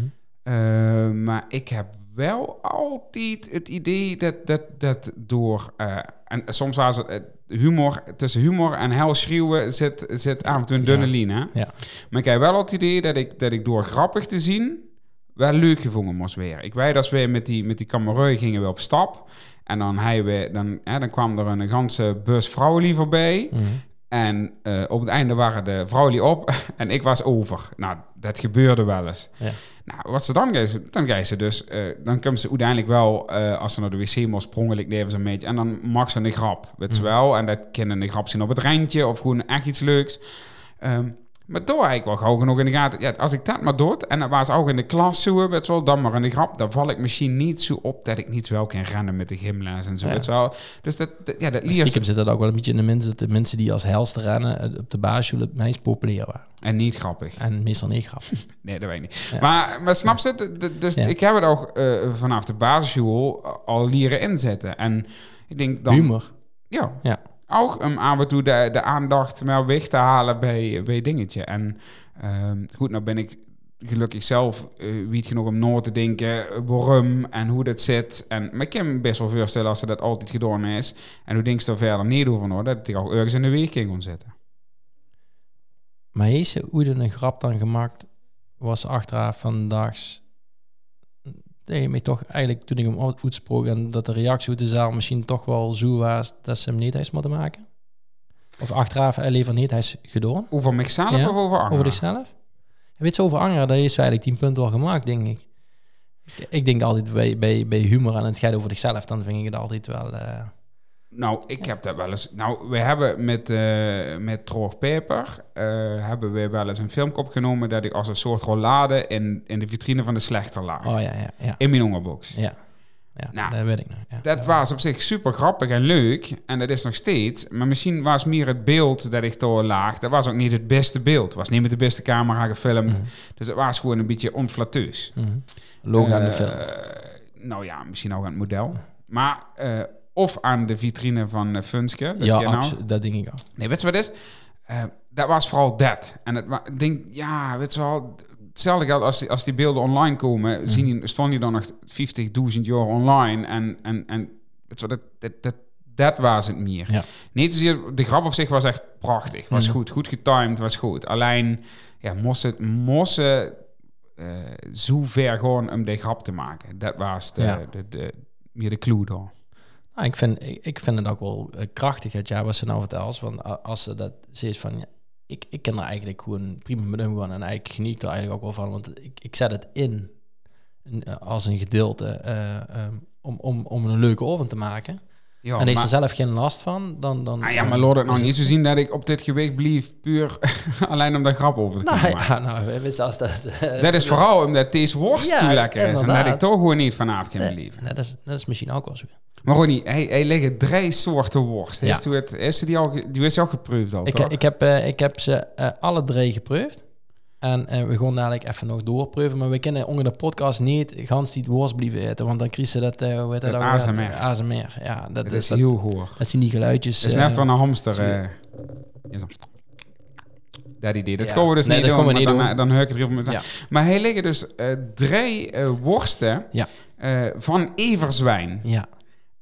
Ehm, maar ik heb wel altijd het idee dat, dat, dat door... eh, en soms was het eh, humor, tussen humor en hel schreeuwen zit, zit af en toe een dunne Ja. lijn. Hè? Ja. Maar ik heb wel altijd het idee dat ik, dat ik door grappig te zien... wel leuk gevonden moest weer. Ik weet als we met die, met die kamerui gingen we op stap... en dan, hij we, dan, hè, dan kwam er een ganse bus vrouwen voorbij... Mhm. En eh, op het einde waren de vrouwen op en ik was over. Nou, dat gebeurde wel eens. Ja. Nou, wat ze dan geven, dan geven ze dus... eh, dan komen ze uiteindelijk wel, eh, als ze naar de wc moest, sprongelijk nemen ze een beetje. En dan mag ze een grap, weet je wel. En dat kunnen een grap zien op het randje of gewoon echt iets leuks. Ehm, maar door eigenlijk wel gauw genoeg in de gaten. Ja, als ik dat maar doe, en dat was ook in de klas zo, weet je wel, dan maar in de grap. Dan val ik misschien niet zo op dat ik niet wel kan rennen met de gymles en zo, Ja. weet je wel. Dus dat, dat- ja, dat leer Stiekem zit dat ook wel een beetje in de mensen, dat de mensen die als helst rennen eh, op de basisschool het meest populair waren. En niet grappig. En meestal niet grap. Nee, dat weet ik niet. Ja. Maar, maar snap je? D- d- Dus Ja. ik heb het ook eh, vanaf de basisschool al leren inzetten. En ik denk dan... Humor. Ja. Ja. Ook om af en toe de, de aandacht maar weg te halen bij, bij dingetje. En ehm, goed, nou ben ik gelukkig zelf eh, weet genoeg om na te denken eh, waarom en hoe dat zit. En maar ik kan me best wel voorstellen als ze dat altijd gedaan is. En hoe denk je er verder niet over na, dat het ook ergens in de weg kan gaan zitten. Maar heeft ze Oeden een grap dan gemaakt, was achteraf vandaag tegen mij toch eigenlijk toen ik hem uitsprak en dat de reactie uit de zaal misschien toch wel zo was dat ze hem niet heeft moeten maken? Of achteraf hij liever niet, hij is gedaan Over mezelf Ja, of over anderen? over zichzelf? En weet je, over Anger, daar is ze eigenlijk 10 punten al gemaakt, denk ik. Ik- Ik denk altijd bij, bij, bij humor en het gaat over zichzelf, dan vind ik het altijd wel... eh, Nou, ik heb dat wel eens. Nou, we hebben met, eh met Troog Peper eh, hebben we wel eens een filmpje opgenomen dat ik als een soort rollade in, in de vitrine van de slechter laag. oh ja, ja, ja. In mijn hongerbox. Ja, ja Nou, dat weet ik nog. Ja, Dat was op zich super grappig en leuk. En dat is nog steeds. Maar misschien was meer het beeld dat ik door laag. Dat was ook niet het beste beeld. Was niet met de beste camera gefilmd. Mhm. Dus het was gewoon een beetje onflateus. Mhm. Logo aan de Eh, film. Nou ja, misschien ook aan het model. Maar eh, of aan de vitrine van eh, Funske. Dat Ja, ken je nou. absolu- dat denk ik ook. Nee, weet je wat het is? Eh, dat was vooral dat. En het wa- ik denk, ja, weet je wel... Hetzelfde geldt als die, als die beelden online komen. Mhm. Zien die, stond je dan nog 50.000 jaar online. En, en, en weet je wel, dat, dat, dat, dat was het meer. Ja. Niet zozeer, de grap op zich was echt prachtig. Was Mhm. goed, goed getimed, was goed. Alleen, ja, mossen, mossen eh zo ver gewoon om de grap te maken. Dat was de, Ja. de, de, meer de clue dan. Nou, ik, vind, ik, ik vind het ook wel eh, krachtig het jaar wat ze nou vertelt. Want a- als ze dat ze is van... ja, Ik, ik ken er eigenlijk gewoon prima met omgaan. En eigenlijk geniet ik er eigenlijk ook wel van. Want ik, ik zet het in een- eh, als een gedeelte eh, ehm, om, om, om een leuke avond te maken. Ja, en heeft Oh, maar- ze zelf geen last van, dan... dan Ah ja, maar Lord, het nog is niet zo zien dat ik op dit gewicht bleef puur alleen om daar grap over te Nou, kunnen maken. ja, nou, weet je, als dat... eh, Dat is vooral omdat deze worst Ja, zo lekker is en dat inderdaad. ik toch gewoon niet vanavond kan nee, blijven. nee, dat, is, dat is misschien ook wel zo. Maar Ronnie, hij, hij liggen drie soorten worst. Ja. Heeft u het, is die, al, ge- die is al geproefd al, Ik, toch? ik, heb, eh, ik heb ze eh, alle drie geproefd. En eh, we gaan dadelijk even nog doorproeven. Maar we kunnen onder de podcast niet gans die worst blijven eten. Want dan krijg ze dat... eh hoe heet dat Dat ook weer? ASMR. ASMR, ja. Dat, dat is, is dat, heel goor. dat zijn die geluidjes. Het is eh, net van een hamster. sorry. eh, is dat- dat idee. Dat Ja. gaan we dus Nee, niet dat doen, gaan we want dan, niet doen. dan heuk ik er op met Ja. Maar hij liggen dus eh, drie eh, worsten Ja. eh, van everzwijn. Ja,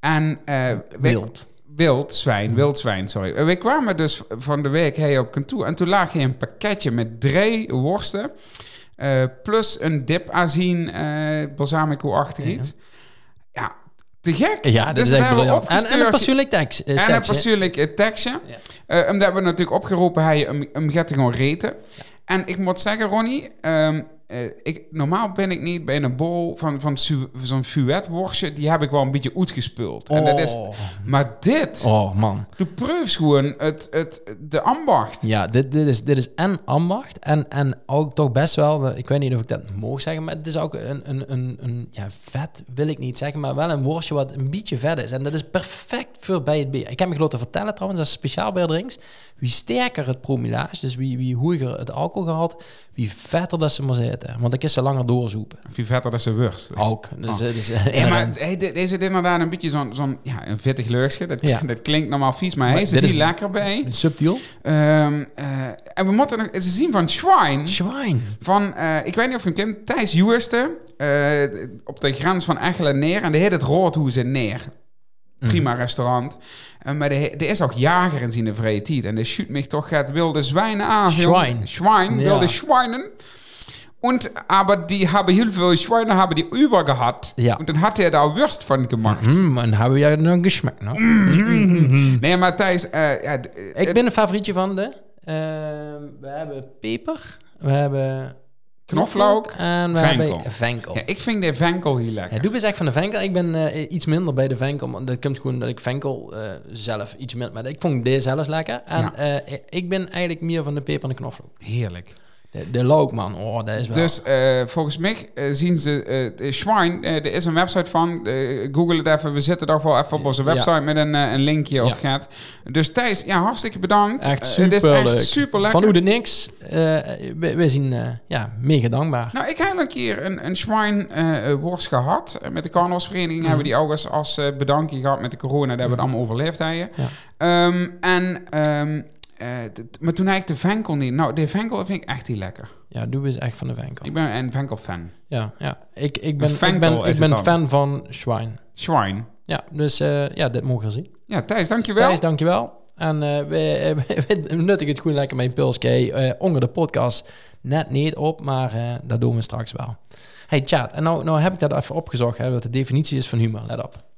En eh, we- wild. Wild Mhm. zwijn, wild zwijn, sorry. En We kwamen dus van de week hey, op kantoor en toen lag hij een pakketje met drie worsten. eh, plus een dip azien, eh balsamico-achtig Ja. iets. Ja, te gek. Ja, dat Dus is dat echt hebben we briljant. En, en een opgestuurd. persoonlijk tekst. eh, En een tekstje. persoonlijk eh, tekstje. Ja. Eh, omdat we natuurlijk opgeroepen hebben, hem, hem gaat hij gewoon reten. En ik moet zeggen, Ronnie, ehm, eh, ik, normaal ben ik niet bij een bol van, van su- zo'n fuetworstje. Die heb ik wel een beetje uitgespeeld. En dat is, Oh. maar dit... Oh man, De proefs gewoon het, het, de ambacht. ja, dit, dit, is, dit is en ambacht en, en ook toch best wel, eh, ik weet niet of ik dat mag zeggen, maar het is ook een, een, een, een ja, vet wil ik niet zeggen, maar wel een worstje wat een beetje vet is. En dat is perfect voor bij het bier. Ik heb me laten vertellen trouwens, dat is speciaal bij drinks, wie sterker het promillage, dus wie, wie hoeiger het alcoholgehalte, wie vetter dat ze maar zitten. Want ik is ze langer doorzoepen. Veel vetter dan ze worst. Ook. Dus, eh, dus, eh, Nee, maar Ah. hey, dit- deze is inderdaad een beetje zo'n zo'n ja, een vettig leursje. Dat, Ja. dat klinkt normaal vies, maar, hij Maar zit dit hier is- lekker bij. Subtiel. Ehm, eh, en we moeten nog eens zien van Schwein. Schwijn. Van, eh, ik weet niet of je hem kent, Thijs Juwerste. eh, op de grens van Echelen neer. En de heet het Roodhoes in Neer. Prima Mhm. restaurant. Eh, maar de he- er is ook jager in zijn vrije tijd. En de shoot mij toch gaat wilde zwijnen aan. Schwein. Schwein, Ja. wilde zwijnen. Und aber die hebben heel veel Schweine hebben die über gehad. Ja. En dan had hij daar worst van gemaakt. Mm, en hebben jij nog gesmaakt, nou? Mhm. Nee, maar Thijs, eh, ja, d- eh, Ik ben een favorietje van de. ehm, we hebben peper, we hebben Knoflook, en we venkel. hebben venkel. ja, Ja, ik vind de Venkel heel lekker. Doe eens echt van de venkel. Ik ben eh, iets minder bij de venkel, maar dat komt gewoon dat ik venkel eh, zelf iets minder. Maar ik vond deze zelfs lekker. En Ja. eh, ik ben eigenlijk meer van de peper en de knoflook. Heerlijk. De, de look, man. Oh, dat is wel. Dus eh, volgens mij eh, zien ze eh, de Schwein. eh, er is een website van. eh, Google het even. We zitten toch wel even op onze Ja. website met een, eh, een linkje of gaat. Dus Thijs, ja, hartstikke bedankt. echt Eh, super het is echt super lekker. Van hoe de niks. eh, we, we zijn eh, ja, mega dankbaar. nou, ik heb een keer een, een Schwein eh, eh, worst gehad. Eh, met de carnavalsvereniging Mhm. hebben we die august als eh, bedankje gehad met de corona. Daar hebben we het allemaal overleefd. hè. Ja. Ehm, en ehm, eh, dat- maar toen had ik de venkel niet. Nou, de venkel vind ik echt niet lekker. Ja, Doe is echt van de Venkel. Ik ben een venkel-fan. Ja, ja. Ik, ik ben, Venkel ik ben, is ik het ben dan. fan van Schwein. Schwein. Ja, dus eh, ja, dit mogen we zien. Ja, Thijs, dankjewel. Thijs, dankjewel. En eh we, we, we nuttigen het gewoon lekker met een pulske. eh onder de podcast net niet op, maar eh, dat doen we straks wel. Hey chat, en nou, nou heb ik dat even opgezocht, hè, wat de definitie is van humor. Let op.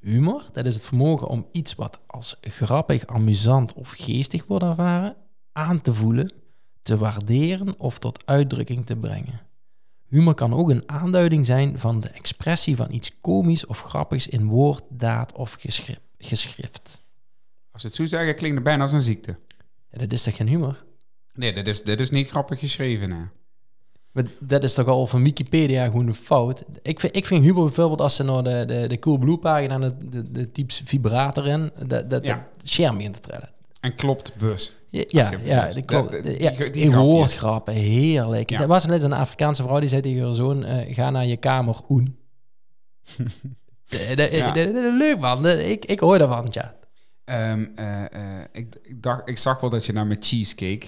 Humor, dat is het vermogen om iets wat als grappig, amusant of geestig wordt ervaren, aan te voelen, te waarderen of tot uitdrukking te brengen. Humor kan ook een aanduiding zijn van de expressie van iets komisch of grappigs in woord, daad of geschrif- geschrift. Als ze het zo zeggen, klinkt het bijna als een ziekte. Ja, dat is toch geen humor? Nee, dit is, dit is niet grappig geschreven, hè. Maar dat is toch al van Wikipedia gewoon een fout. Ik vind, ik vind humor bijvoorbeeld als ze naar de, de, de Coolblue pagina de, de, de types vibrator in, dat dat Ja. dat scherm begint te trillen. En klopt bus. Ja, ja, je hebt ja, dus- dat klopt. dat- die- ja, die die grapjes. woordgrappen, heerlijk. Ja. Er was net een Afrikaanse vrouw die zei tegen haar zoon, eh, ga naar je kamer, oen. Eh, De- de- Ja. de- de- de- Leuk man, De- ik, ik hoor daarvan, ja. Ehm, eh, eh, ik, ik, dacht, ik zag wel dat je naar mijn cheesecake...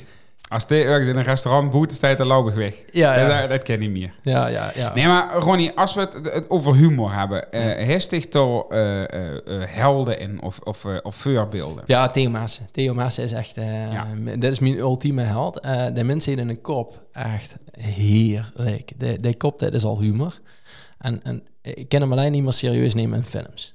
Als dit ergens in een restaurant boet, staat de lauwig weg. Ja, ja. Dat, dat ken ik niet meer. Ja, ja, ja. Nee, maar Ronnie, als we het, het over humor hebben... eh herstig toch eh, eh, eh, helden in of, of, eh, of voorbeelden? Ja, Theo Maassen. Theo Maassen is echt... eh, Ja. m- Dat is mijn ultieme held. Eh, de mensen in een kop, echt heerlijk. De, de kop, dat is al humor. En, en ik kan hem alleen niet meer serieus nemen in films.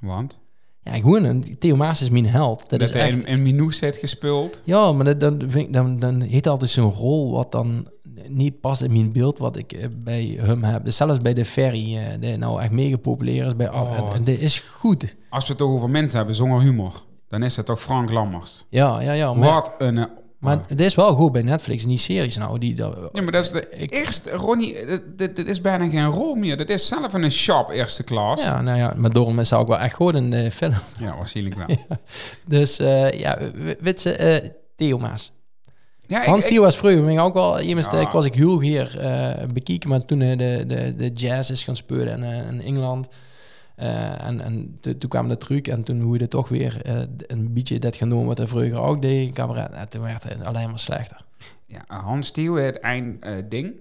Want Ja, gewoon, een- Theo Maassen is mijn held. Dat, dat, is hij echt... in, in Minoes heeft gespeeld. Ja, maar dat, dan, vind ik, dan, dan heeft hij altijd zo'n rol wat dan niet past in mijn beeld wat ik eh, bij hem heb. Dus zelfs bij de ferry, eh, die nou echt mega populair is. Bij, Oh. en, en die is goed. Als we het toch over mensen hebben zonder humor... dan is het toch Frank Lammers. Ja, ja, ja. Maar, Wat een... eh, maar dit is wel goed bij Netflix en die series nou. Die, dat- Ja, maar dat is de Ik- eerste, Ronnie, dit, dit- dit is bijna geen rol meer. Dit is zelf een shop eerste klas. Ja, Ja, nou ja, maar daarom is hij ook wel echt goed in de film. waarschijnlijk wel. Dus eh, ja, w- weet ze, eh, Theo Maas. Ja, ik- Hans ik- Theo was vroeger, ben ik ook wel, iemand Ja. ik was ik heel hier bekeken, maar toen eh, de, de, de jazz is gaan spelen in, eh, in Engeland. eh, en en to- toen kwam de truc en toen hoe je er toch weer eh, een beetje dat genomen wat hij vroeger ook deed, cabaret. En toen werd het alleen maar slechter. ja, Hans Theo, het eind eh, ding.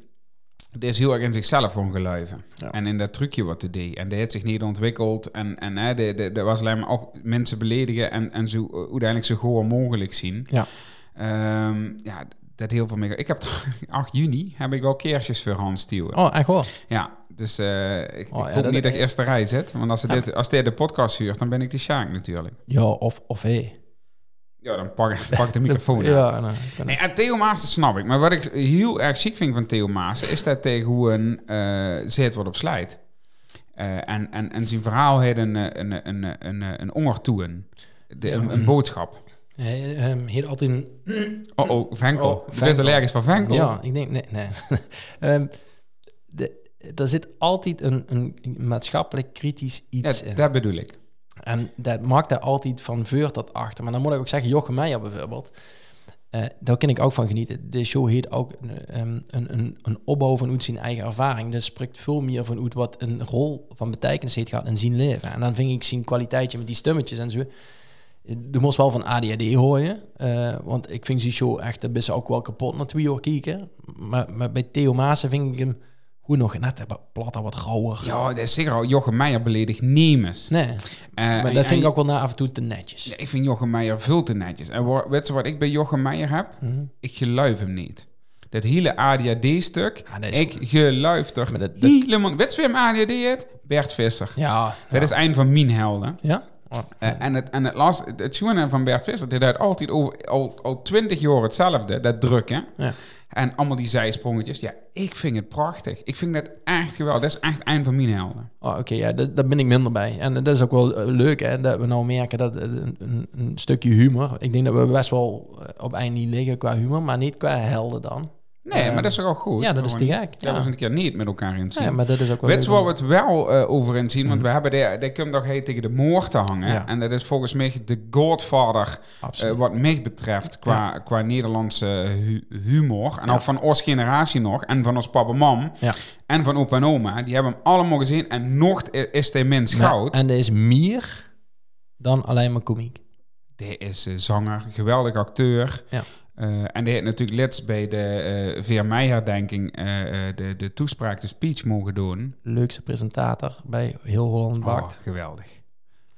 Het is heel erg in zichzelf gewoon geluiven. Ja. En in dat trucje wat hij deed. En die heeft zich niet ontwikkeld. En, en hè, de, de, de was alleen maar ook mensen beledigen en, en zo, eh, uiteindelijk zo goor mogelijk zien. Ja. Ehm, ja, dat heel veel meer. Ik heb t- 8 juni heb ik wel keertjes voor Hans Theo. Oh, echt wel. Ja, dus eh, ik, ik Oh, ja, hoop dat- niet dat ik eerste rij zit. Want als, ze Ja. dit, als dit de podcast huurt, dan ben ik de Sjaak natuurlijk. Ja, of, of hé. Ja, dan pak, pak de microfoon aan. Ja, nou, ik kan Nee, het. en Theo Maassen snap ik. Maar wat ik heel erg ziek vind van Theo Maassen... is dat tegen hoe een eh zit wordt op slijt. Eh, en, en, en zijn verhaal heeft een, eh, een, een, een, een, een onger toe. Een, de- een, een boodschap. Hij ehm, heet altijd een Oh, oh, Venkel. Oh, Je bent Venkel. allergisch van Venkel. Ja, ik denk, nee, nee. Ehm, de, er zit altijd een, een maatschappelijk kritisch Ja, iets in. dat bedoel ik. En dat maakt daar altijd van veur tot achter. Maar dan moet ik ook zeggen, Jochem Meijer bijvoorbeeld, eh, daar kan ik ook van genieten. De show heet ook eh, ehm, een, een, een opbouw van uit zijn eigen ervaring. Dus spreekt veel meer van uit wat een rol van betekenis heeft gehad in zijn leven. En dan vind ik zijn kwaliteitje met die stemmetjes en zo. Je moest wel van ADHD horen, eh, want ik vind die show echt, daar ben ze ook wel kapot na twee uur kijken. Maar, maar bij Theo Maassen vind ik hem goed nog net wat platter, wat rauwer. Ja, dat is zeker al Jochem Meijer beledigt nemens. Nee, Eh, maar en- dat en- vind ik ook wel na af en toe te netjes. Ja, ik vind Jochem Meijer veel te netjes. En wa- weet je wat ik bij Jochem Meijer heb? Mhm. Ik geluif hem niet. Dat hele ADHD-stuk, Ja, dat is- ik geluif toch Maar dat- dat- helemaal... Weet je wie hem ADHD heet? Bert Visser. Ja. Dat is een van mijn helden. Ja? Eh, en het, en het, last, het, het zoenen van Bert Visser, die deed altijd over, al, al twintig jaar hetzelfde, dat drukken. Ja. En allemaal die zijsprongetjes. Ja, ik vind het prachtig. Ik vind dat echt geweldig. Dat is echt een van mijn helden. Oh, Oké, ja, dat- daar ben ik minder bij. En dat is ook wel eh, leuk, hè, dat we nou merken dat eh, een, een, een stukje humor... Ik denk dat we best wel eh, op eind niet liggen qua humor, maar niet qua helden dan. Nee, Ehm, maar dat is toch al goed? ja, dat is te Gewoon, gek, Dat ja. we eens een keer niet met elkaar in zien. Ja, maar dat is ook wel Weet je leuk waar om- we het wel eh, over in zien? Want we hebben de, de Kumdag heet tegen de moord te hangen. Mm. Ja. En dat is volgens mij de godfather eh, Absoluut. wat mij betreft qua, qua Nederlandse hu- humor. En Ja. ook van ons generatie nog. En van ons papa en mam. Ja. En van opa en oma. Die hebben hem allemaal gezien. En nog i- is hij mens Maar- goud. en er is meer dan alleen maar komiek. Die is eh, zanger, geweldig acteur. Ja. Eh, en die heeft natuurlijk let's bij de eh Veer Meijer-denking eh, eh, de, de toespraak, de speech mogen doen. Leukste presentator bij heel Holland Oh, Bakt. geweldig.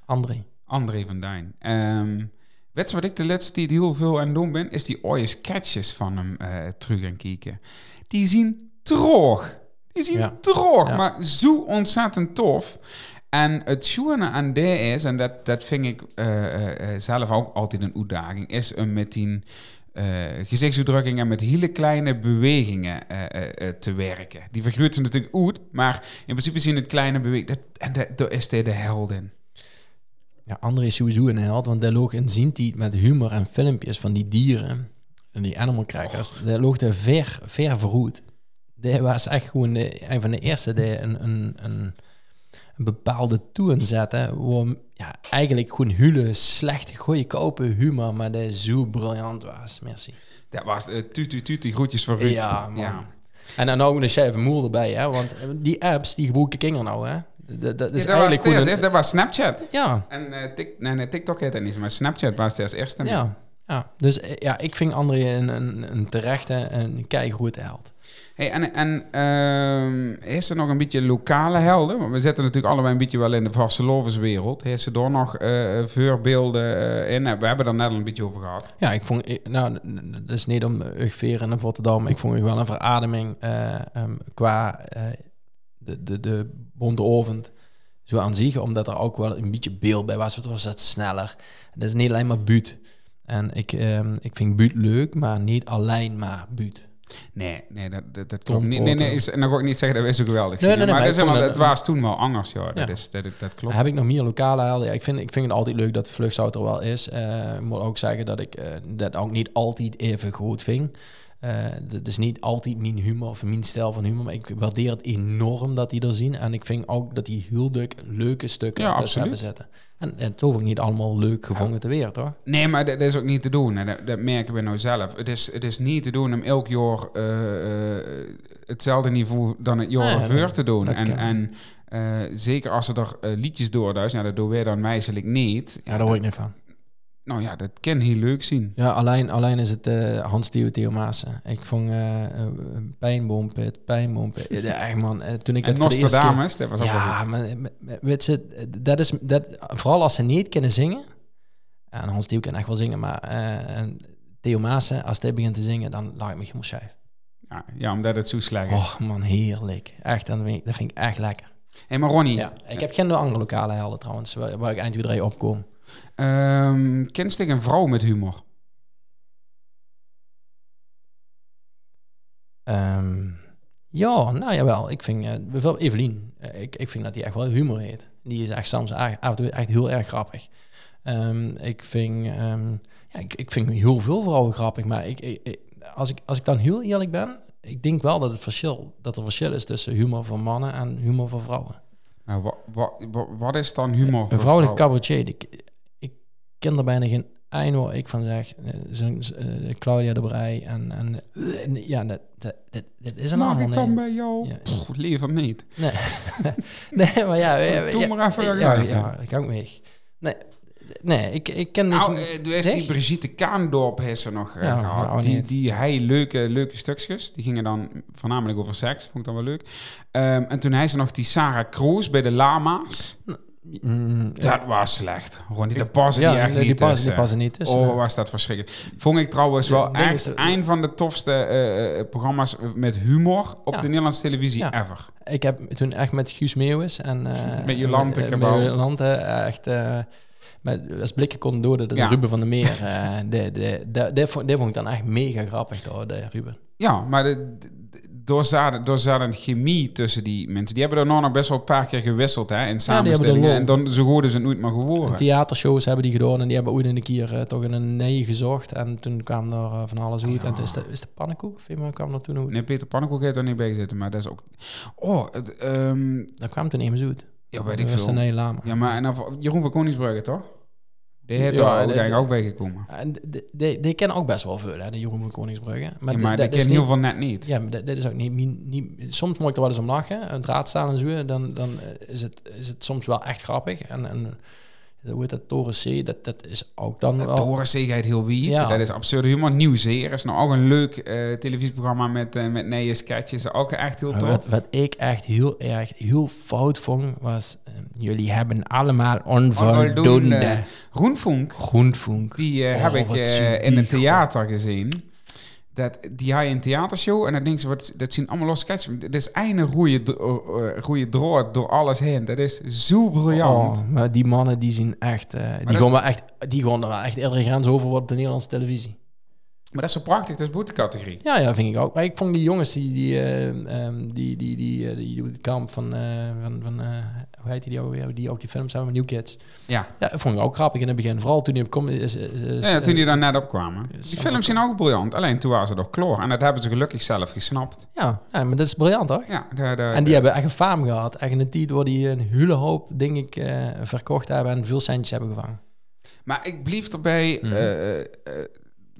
André. André van Duin. Ehm, weet je wat ik de laatste tijd heel veel aan het doen ben? Is die ooie sketches van hem eh, terug gaan kijken. Die zien droog. Die zien Ja. droog, Ja. maar zo ontzettend tof. En het schoenen aan de is, en dat, dat vind ik eh, eh, eh, zelf ook altijd een uitdaging, is om met die eh, gezichtsuitdrukkingen met hele kleine bewegingen eh, eh, eh, te werken. Die vergroot ze natuurlijk uit, maar in principe zien het kleine bewegingen. dat- En dat, daar is hij de helden. Ja, André is sowieso een held, want daar loog in zien die met humor en filmpjes van die dieren en die animal crackers. Daar loog de ver, ver vooruit. Dat was echt gewoon de, een van de eerste die een, een, een, een bepaalde toon zette. Waar ja, eigenlijk gewoon hele slechte, goeie kopen humor, maar die zo briljant was. Merci. Dat was eh, tuut tuut tuut, die groetjes voor Ruud. Ja, man. En dan ook een schijf moer erbij, hè? want eh, die apps, die gebruiken kinderen nou. Hè? Dat, dat is Ja, dat, was eigenlijk het eerst, gewoon... hè? een- dat was Snapchat. ja, En eh, tik, nee, nee, TikTok heet dat niet, maar Snapchat was het als eerste. Ja, ja. dus eh, ja, ik vind André een, een, een terechte en keigoed held. Hey, en en ehm, is er nog een beetje lokale helden? Want we zitten natuurlijk allebei een beetje wel in de vastelovenswereld. Heeft ze daar nog eh, eh, voorbeelden eh, in? Nou, We hebben daar net al een beetje over gehad. Ja, ik vond, ik- nou, n- n- dat is niet om Ugveer en Rotterdam, maar ik vond u wel een verademing eh, ehm, qua eh, de, de, de bonte ovend. Zo aan zich, omdat er ook wel een beetje beeld bij was. Het was dat sneller. En dat is niet alleen maar buut. En ik, ehm, ik vind buut leuk, maar niet alleen maar buut. Nee, nee, dat, dat, dat Tom klopt niet. Nee, nee, Porter. is, en dan ga ik niet zeggen dat wij zo geweldig Nee, zijn. nee, nee, maar maar het, is ik vond helemaal- het dat- was toen wel angers, ja. Dat, Ja. is, dat, dat klopt. Heb ik nog meer lokale helden? Ja, ik vind, ik vind het altijd leuk dat Vluchtzout er wel is. Eh, ik moet ook zeggen dat ik eh, dat ook niet altijd even goed vind. Eh, dat is niet altijd mijn humor of mijn stijl van humor. Maar ik waardeer het enorm dat die er zien. En ik vind ook dat die hulduk leuke stukken Ja, tussen absoluut. hebben zitten. En, en het hoeft ook niet allemaal leuk gevonden te weer, toch? Nee, maar dat, dat is ook niet te doen. En dat, dat merken we nou zelf. Het is, het is niet te doen om elk jaar eh, eh, hetzelfde niveau dan het jaar Nee, ervoor Ah, dat- te doen. dat En, ken ik. en eh, zeker als ze er eh, liedjes doorduist, nou, dat doen wij dan meiselijk niet. Ja, daar hoor ik niet van. Nou ja, dat kan heel leuk zien. Ja, alleen, alleen is het eh, Hans Theo Theo Maassen. Ik vond eh eh, Pijnboompit, Pijnboompit. Ja, echt man, eh, toen ik en dat voor de eerste keer... Nostradamus, dat was ook wel Ja, maar maar- maar weet je, dat is, dat, vooral als ze niet kunnen zingen. En Hans Dieuw kan echt wel zingen, maar eh, en Theo Maassen, als hij begint te zingen, dan laat ik me helemaal schijf. goed. Ja, ja, omdat het zo slecht is. Och man, heerlijk. Echt, dan vind ik- dat vind ik echt lekker. Hé, maar Ronnie, Ja, ik heb geen andere lokale helden trouwens, waar, waar ik eind weer drie opkom. ehm, kent Stig een vrouw met humor? Ehm, ja, nou jawel. Ik vind, eh, bijvoorbeeld Evelien, eh, ik, ik vind dat die echt wel humor heeft. Die is echt soms a- af en toe echt heel erg grappig. Ehm, ik vind, ehm, ja, ik, ik vind heel veel vrouwen grappig, maar ik, ik, ik- als, ik, als ik dan heel eerlijk ben, ik denk wel dat het verschil, dat er verschil is tussen humor van mannen en humor van vrouwen. Nou, wa- wa- wa- wat is dan humor voor Een vrouwelijke vrouwen? cabaretier, die- ik ken er bijna geen eind waar ik van zeg. Eh, zo'n, eh, Claudia de Brij en, en eh, ja, dat, dat, dat- dat is een Mag allemaal ik dan niet. bij jou? Ja. Pff, liever niet. Nee, nee maar ja... ja, Doe ja, maar even. ja, ergens. ja, ik hang mee. Nee, nee ik, ik ken... Nou, niet- eh, toen is die Nee? Brigitte Kaandorp heeft ze nog eh, Ja, gehad. nou, die, niet. die hij leuke, leuke stukjes. Die gingen dan voornamelijk over seks. Vond ik dan wel leuk. Ehm, en toen hij ze nog die Sarah Kroos bij de Lama's. Mm, Dat was slecht. Gewoon die daar eh, passen die echt nee, niet die passen, tussen. die passen niet dus, eh, tussen. Oh, was dat verschrikkelijk. Vond ik trouwens Ja, dus, wel ik denk echt dat- een van de tofste eh, eh, programma's met humor op Ja. de Nederlandse televisie Ja. ever. Ik heb toen echt met Guus Meeuwis en... eh, Met Jolante eh, Cabau. Met Jolante echt... eh, met, als blikken kon doden, dat Ja. Ruben van der Meer. eh de, de, de, de vond, die vond ik dan echt mega grappig, hoor, de Ruben. Ja, maar de, de- door, zaten, door zaten een chemie tussen die mensen. Die hebben er nou nog best wel een paar keer gewisseld hè, in hebben er samenstellingen. lol. en dan, zo hoorden ze nooit meer geworden. Theatershows hebben die gedaan en die hebben ooit in een keer eh, toch een nee gezocht. En toen kwam er eh, van alles uit. Ja. En toen is de, is de pannenkoek, of iemand kwam er toen uit. Nee, Peter Pannenkoek heeft er niet bij gezeten, maar dat is ook... Oh, het, ehm, Daar kwam toen iemand uit. ja, weet Dat ik was veel. een hele lama. Ja, maar en dan, Jeroen van Koningsbrugge, toch? Die heeft Ja, er ook, de- denk ik ook bij gekomen. En d- d- die, die kennen ook best wel veel, hè, de Jeroen van Koningsbrugge. Maar, Maar, ja, maar dat die is ken heel niet- veel net niet. Ja, maar dat, dat is ook niet, niet, niet- Soms moet ik er wel eens om lachen, een draad staan en zo. Dan, dan eh, is, het, is het soms wel echt grappig. En, en hoe heet dat, Toren C, dat, dat is ook dan wel... Dat torenzeegheid heel wiet. Ja. Dat is absurde humor. Nieuwzeer is nou ook een leuk eh, televisieprogramma met, eh, met nieuwe sketches. Ook echt heel Maar tof. Wat, wat ik echt heel erg, heel fout vond, was... eh, jullie hebben allemaal onvoldoende Onvoldoende. Roenfunk, groenvonk. die eh, Oh, heb ik wat eh, zien in die een theater gezien. Dat, die had je in een theatershow en dat, ding, ze wordt, dat zien allemaal los sketches. Dit is einde roeie, dro- eh, roeie drood door alles heen. Dat is zo briljant. Oh, maar die mannen die zien echt, eh, die, dat is- gaan wel echt die gaan er wel echt iedere grens over wat op de Nederlandse televisie. Maar dat is zo prachtig, dat is boetecategorie. Ja, ja, vind ik ook. Maar ik vond die jongens die, die, eh, ehm, die, die, die, eh, die, het kamp van, eh, van, van eh, hoe heet die die ook weer, die ook die films hebben, New Kids. Ja. Ja, dat vond ik ook grappig in het begin. Vooral toen hij op eh, kom is, is, is- Ja, toen die daar net op kwamen. is Die allemaal films zijn ook briljant, alleen toen waren ze nog kloor. En dat hebben ze gelukkig zelf gesnapt. ja, ja, maar dat is briljant toch? Ja, de, de, En die hebben echt een faam gehad. Echt een tijd waar die een hele hoop, denk ik, eh, verkocht hebben en veel centjes hebben gevangen. Maar ik blijf erbij. Mhm. eh, eh,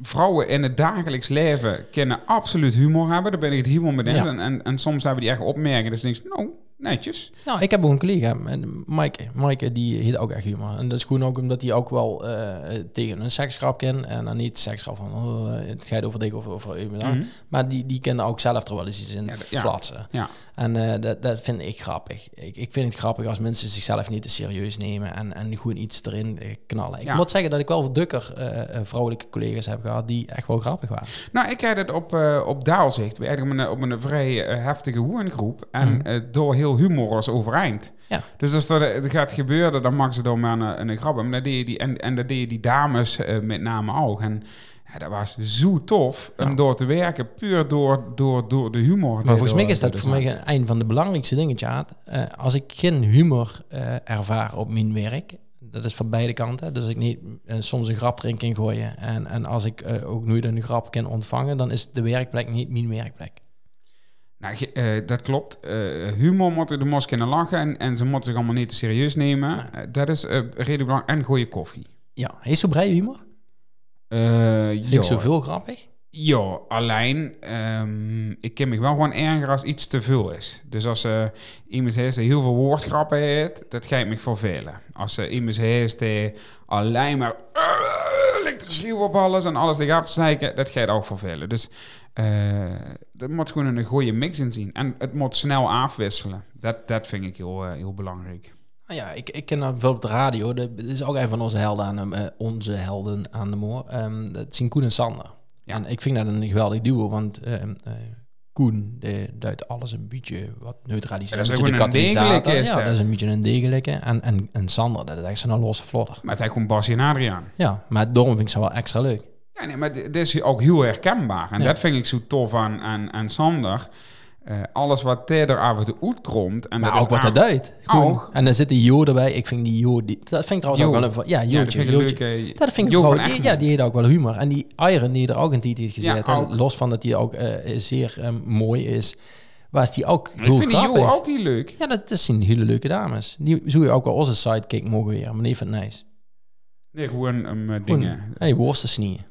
vrouwen in het dagelijks leven kunnen absoluut humor hebben. Daar ben ik het helemaal mee eens. Ja. En, en, en soms hebben die echt opmerkingen. Dus denk ik, nou, netjes. Nou, ik heb ook een collega, en Mike. Mike, die heet ook echt humor. En dat is gewoon ook omdat hij ook wel eh, tegen een seksgrap kent. En dan niet seksgrap van, oh, het gaat over dik of over iemand anders. Mhm. Maar die, die kennen ook zelf er wel eens iets in Ja, dat- ja. flatsen. Ja. En eh, dat, dat vind ik grappig. Ik, ik vind het grappig als mensen zichzelf niet te serieus nemen en, en gewoon iets erin eh, knallen. Ik Ja. moet zeggen dat ik wel dukker eh, eh, vrouwelijke collega's heb gehad die echt wel grappig waren. Nou, ik had het op, eh op Daalzicht. We eigenlijk op een, op een vrij eh, heftige woongroep. En Mhm. eh, door heel humor was overeind. Ja. Dus als dat eh, gaat gebeuren, dan mag ze door maar een, een grap. Maar dat deed je die, en, en dat deed je die dames eh, met name ook. En ja, dat was zo tof om Ja. door te werken. Puur door, door, door de humor. Maar volgens mij Door- is dat door de voor mij zaak. een- een van de belangrijkste dingen, Tjaat. Eh, als ik geen humor eh, ervaar op mijn werk, dat is van beide kanten. Dus als ik niet eh, soms een grap erin kan gooien en, en als ik eh, ook nooit een grap kan ontvangen, dan is de werkplek niet mijn werkplek. Nou, ge- eh, dat klopt. Eh, humor moet de mos kunnen lachen en, en ze moeten zich allemaal niet te serieus nemen. Eh, dat is eh reden belang En goede koffie. Ja, is zo brei humor? Eh, Vind ik ja. zoveel grappig? Ja, alleen ehm, ik ken me wel gewoon erger als iets te veel is. Dus als eh, iemand heeft die heel veel woordgrappen heeft, dat gaat me vervelen. Als eh, iemand heeft die alleen maar eh, ligt te schreeuwen op alles en alles ligt af te zeiken, dat gaat ook vervelen. Dus eh er moet gewoon een goede mix in zien. En het moet snel afwisselen. Dat, dat vind ik heel, eh, heel belangrijk. Nou ja, ik, ik ken dat veel op de radio. Dat is ook een van onze helden aan de, eh, onze helden aan de moor. Ehm, dat zijn Koen en Sander. Ja. En ik vind dat een geweldig duo, want ehm, eh, Koen eh, duidt alles een beetje wat neutraliseren. Ja, dat is Een beetje ook een degelijke is ja, dat. dat is een beetje een degelijke. En, en, en Sander, dat is echt zo'n losse vlodder. Maar het zijn gewoon Basje en Adriaan. Ja, maar daarom vind ik ze wel extra leuk. Ja, nee, maar dit dit is ook heel herkenbaar. En Ja. dat vind ik zo tof aan, aan, aan Sander. Eh, alles wat Teder af en toe uitkomt... En Maar dat is ook wat aan- dat duidt. Gewoon. Oog. En dan zit die Jo erbij. Ik vind die Jo... Die, dat vind ik trouwens Jo. ook wel een... va- Ja, Ja, dat Jootje. vind ik eh, een Jootje. leuke... Dat vind ik Jo van gewoon, die, Egmond. ja, die heeft ook wel humor. En die Iron die er ook een tijd heeft gezet, Ja, en ook. los van dat die ook eh, zeer eh, mooi is, was die ook Ik heel vind die grappig. Jo ook heel leuk. Ja, dat, dat zijn hele leuke dames. Die zou je ook wel als een sidekick mogen weer, maar die vindt het nice. Nee, gewoon um, Gewoon, eh, dingen. hey, worstensnieën.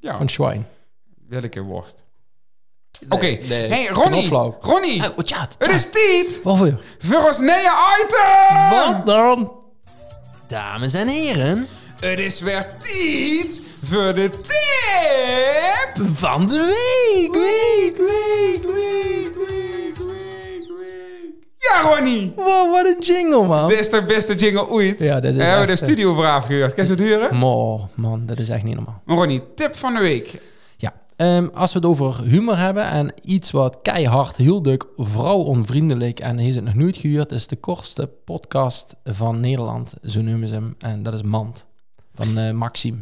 Ja, Van Schwein. welke worst. Nee, Oké, nee, hey Ronnie. knoflook. Ronnie, Oh, wat ja, het is tijd Waarvoor? voor ons nieuwe item! Wat dan? Dames en heren, Het is weer tijd voor de tip! van de week, week, week, Week, week, week, week. Ja, Ronnie! Wow, wat een jingle, man. Dit is de beste jingle ooit. Ja, dit is Daar hebben we de echt, eh, studio voor afgehuurd. Kan je het huren? Mo, Oh, man, dat is echt niet normaal. Maar Ronnie, tip van de week. Ja, ehm, als we het over humor hebben en iets wat keihard, heel duk, vrouwonvriendelijk en heeft het nog nooit gehuurd, is de kortste podcast van Nederland, zo noemen ze hem, en dat is Mand, van eh Maxime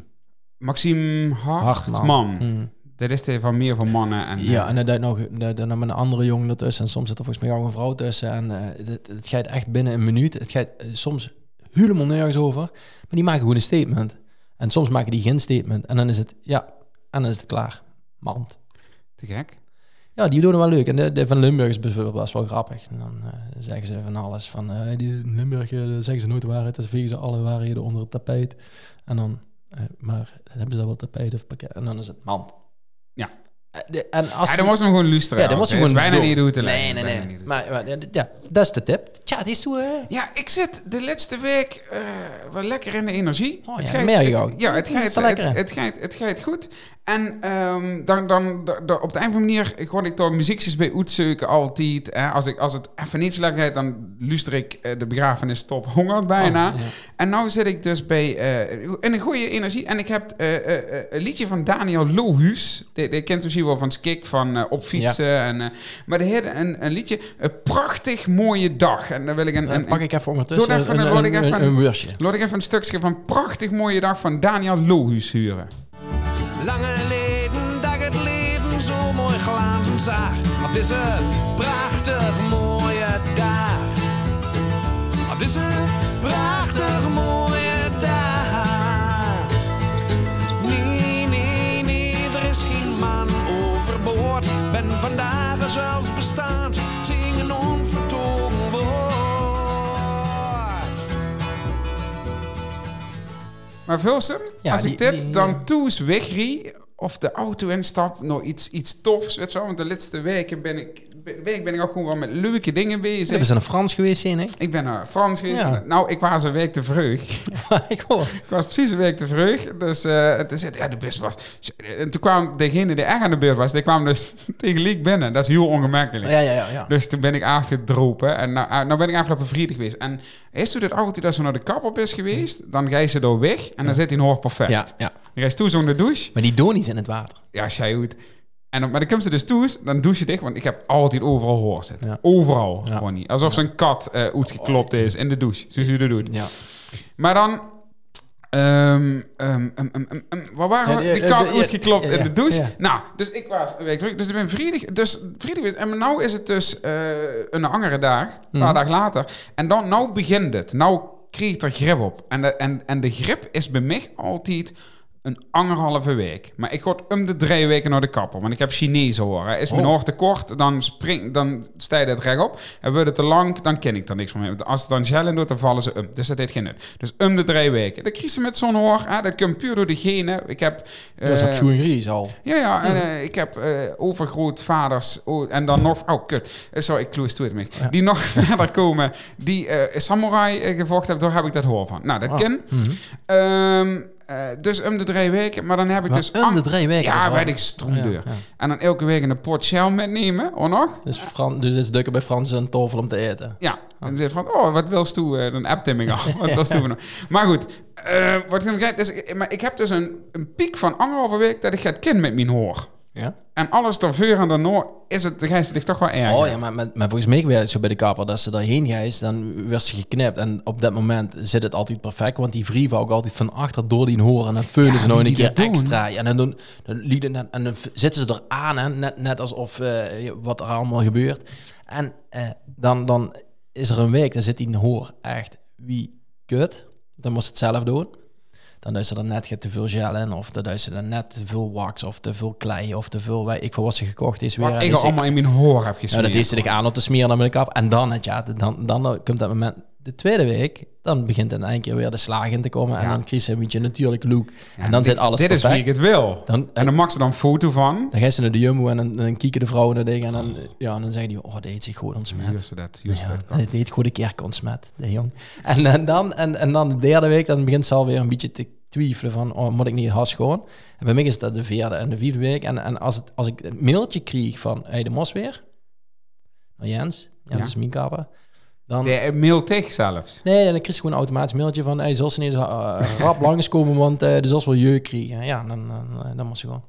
Maxime Hartman. Hartman. Hm. Dat is de van meer van mannen. En, eh, Ja, en dan duidt nog daar- daar nog met een andere jongen ertussen en soms zit er volgens mij ook een vrouw tussen en eh, het, het gaat echt binnen een minuut, het gaat eh, soms helemaal nergens over, maar die maken gewoon een statement. En soms maken die geen statement en dan is het, ja, en dan is het klaar. Mand. Te gek. Ja, die doen het wel leuk. En de, de van Limburg is bijvoorbeeld best wel grappig. En dan eh, zeggen ze van alles. Van eh, die in Limburg eh, daar zeggen ze nooit de waarheid. Dus vegen ze alle waarheden onder het tapijt. En dan, eh, maar hebben ze dan wel tapijt of pakket? En dan is het mand. Ja. Eh, de- En als Ja, dan moest je hem gewoon luisteren. Ja, dan moest je Het is gewoon bijna niet doen. hoe te Nee, leggen. nee, Bijna nee. niet hoe te Maar, maar, ja, dat is de tip. Tja, het is toe, hè? Ja, ik zit de laatste week eh, wel lekker in de energie. Oh ja, dat merk ik het- ook. Ja, het Het is gaat, wel het, lekker, het, hè? gaat, het gaat goed. En ehm, dan, dan, dan- dan- op het eind van de manier gewoon ik daar muziekjes bij uitzoeken altijd. Hè. Als, ik, als het even niet zo lekker gaat, dan luister ik eh, de begrafenis top honger bijna. Oh, ja. En nu zit ik dus bij eh, in een goede energie. En ik heb eh, eh, eh, een liedje van Daniel Lohuus. Die, die kent misschien wel van Skik, van eh, op fietsen. En, eh, maar die heeft een, een liedje, een prachtig mooie dag. En dan wil ik een, Dan een, pak ik even ondertussen Doe even, een, dan een, word ik een, even- een, een worstje. Laat ik even een stukje van Prachtig Mooie Dag van Daniel Lohuus huren. Lange leden dat ik het leven zo mooi glanzen zag. Het is een prachtig mooie dag. Het is een prachtig mooie dag. Nee, nee, nee, er is geen man overboord. Ben vandaag er zelfs bestaand, zing een onvertogen woord. Maar Vulsum, Ja, als die- ik dit die- dan toes wegrie of de auto instap, nog iets, iets tofs, weet je wel. Want de laatste weken ben ik, week ben ik ook gewoon wel met leuke dingen bezig. We zijn naar Frans geweest, zie ik. Ik ben naar Frans geweest. dus- Ja. Nou, ik was een week te vroeg. ik hoor. Ik was precies een week te vroeg. Dus eh toen zei hij, ja, de bus was... En toen kwam degene die echt aan de beurt was, die kwam dus tegelijk binnen. Dat is heel ongemakkelijk. Oh Ja, ja, ja. ja. Dus toen ben ik afgedropen. En nou, nou ben ik afgelopen vrijdag geweest. En is toen dat auto dat ze naar de kap op is geweest, dan ga je ze door weg en dan zit hij nog perfect. ja, ja. Dan ga je toe zonder douche. Maar die donies in het water. Ja, jij goed. En dan, maar dan komt ze dus toe, dan douche je dicht, want ik heb altijd overal hoor zitten. Ja. Overal, Ja. Ronnie. Alsof zo'n kat eh uitgeklopt is in de douche, zoals u dat doet. Ja. Maar dan... ehm, ehm, ehm, ehm, ehm, ehm, waar waren we? Ja, Die eh, kat eh, eh, uitgeklopt ja, in ja, de douche. ja. Nou, dus ik was een week terug. Dus ik ben vrijdag... Dus vrijdag is- en nu is het dus eh, een andere dag. Een paar Mhm. dagen later. En dan, nou begint het. Nou kreeg ik er grip op. En de, en, en de grip is bij mij altijd een anderhalve week. Maar ik ga om de drie weken naar de kapper. Want ik heb Chinees horen. Is mijn Oh. oor te kort, dan, spring, dan stijgt het recht op. En wordt het te lang, dan ken ik er niks meer mee. Als het dan gel in doet, dan vallen ze om. Dus dat deed geen nut. Dus om de drie weken. De crisis met zo'n hoor, hè, dat komt puur door de genen. Ik heb... Ja, dat is eh, ook Sjoe en Gries al. ja, ja, en eh, ik heb eh, overgrootvaders o- en dan nog... Oh, kut. Eh, sorry, ik close to it, Mick. Ja. Die nog verder komen, die eh, samurai eh, gevochten hebben, daar heb ik dat hoor van. Nou, dat Oh. ken. Mhm. Ehm, eh, dus om de drie weken, maar dan heb ik Maar dus... om de an- drie weken. Ja, is wel- weet ik, stroomdeur. Ja, ja. En dan elke week een pot shell metnemen, of nog? Dus, Fran, dus het is dukken bij Frans een tovel om te eten. Ja, en dan zegt van, oh, wat wilst u? eh, dan appt hij me al. Wat wilst u van hem? Maar goed, eh, wat ik hem krijg, dus, ik- maar ik heb dus een, een piek van anderhalve week dat ik het kind met mijn hoor. Ja? En alles daarvoor en daarna is het, de gijs toch wel erg. Oh ja, maar, maar, maar volgens mij werd het zo bij de kapper dat ze daarheen gijst, dan werd ze geknipt. En op dat moment zit het altijd perfect, want die vrieven ook altijd van achter door die horen. En dan veulen ze nog een die keer dat doen. extra. Ja, En dan, doen, dan, lieden- en, en dan v- zitten ze eraan, hè, net, net alsof eh, wat er allemaal gebeurt. En eh, dan, dan is er een week, dan zit die hoor echt wie kut. Dan moest het zelf doen. Dan doet ze er net te veel gel in, of dan doet ze er net te veel wax, of te veel klei, of te veel... weet Ik voor wat ze gekocht is weer. Wat en ik is- al allemaal in mijn hoor heb nou, gesmeerd. dat eerste ik aan om te smeren dan ben ik af. En dan, het, ja, dan, dan komt dat moment. De tweede week, dan begint in één keer weer de slaag in te komen. En Ja. dan krijg je een beetje een natuurlijke look. Ja, en dan dit- zit alles Dit is wie perfect. ik het wil. Dan, En dan maak ze dan een foto van. dan ga je ze naar de Jumbo en dan, dan kieken de vrouwen naar dingen. En dan, ja, en dan zeggen die, oh, dat heet zich goed ontsmet. Juist dat, juist Dus Ja, dat. dat heet gewoon de kerk ontsmet, de jong. En, en, dan, en, en dan de derde week, dan begint ze alweer een beetje te twijfelen van, oh, moet ik niet het has gewoon? En bij mij is dat de vierde en de vierde week. En, en als, het, als ik een mailtje kreeg van, hey, de mos weer. Nou, Jens, Jens Ja. is mijn kapper. Dan, De eh, mail tegen zelfs. Nee, en dan kreeg ze gewoon een automatisch mailtje van... Hey, zos ineens eh, rap langskomen, want eh de zos wil jeuk krijgen. Ja, dan, dan, dan moest je gewoon.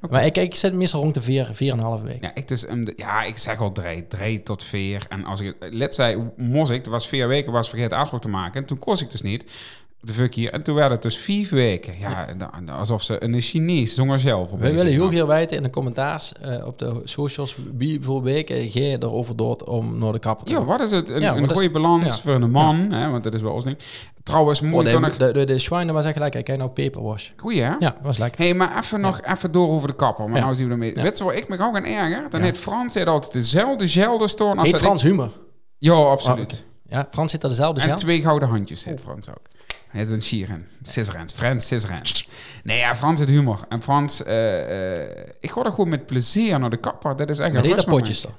Oké. Maar ik, ik zit meestal rond de vier, vier en een half week. Ja, ik dus, um, de- ja, ik zeg al drie, drie tot vier. En als ik het, let zei, mos ik, er was vier weken, was vergeten aanspraak te maken. En toen kost ik dus niet. De fuck hier. En toen werd het dus vijf weken. Ja, en dan- alsof ze een Chinees zong er zelf op. We willen heel graag weten in de commentaars eh, op de socials... wie voor weken ga je erover door om naar de kapper te Ja, gaan? wat is het? Een, Ja, een wat is- goede balans ja. voor een man, hè, want dat is wel ons ding. Trouwens, Oh, moet ik de, dan nog... de, de, de Schwein, dat was echt lekker. Kijk nou, paperwash. Goeie, hè? Ja, dat was lekker. Hé, hey, maar even nog even door over de kapper. Maar Ja. nou zien we ermee. Ja. Weet je waar ik me ook aan erger? Dan Ja. heeft Frans heeft altijd dezelfde gelderstoorn als Heet dat ik- Frans Oh, humor. Ja, absoluut. Ja, Frans zit er dezelfde En gel. Oh. twee gouden handjes heeft Frans ook. Het is een Sieren. Sisserend. Frans Sisserend. Nee, ja, Frans het humor. En Frans, eh, eh, ik ga er gewoon met plezier naar de kapper. Dat is echt een Maar deed dat rustmoment. potjes dan?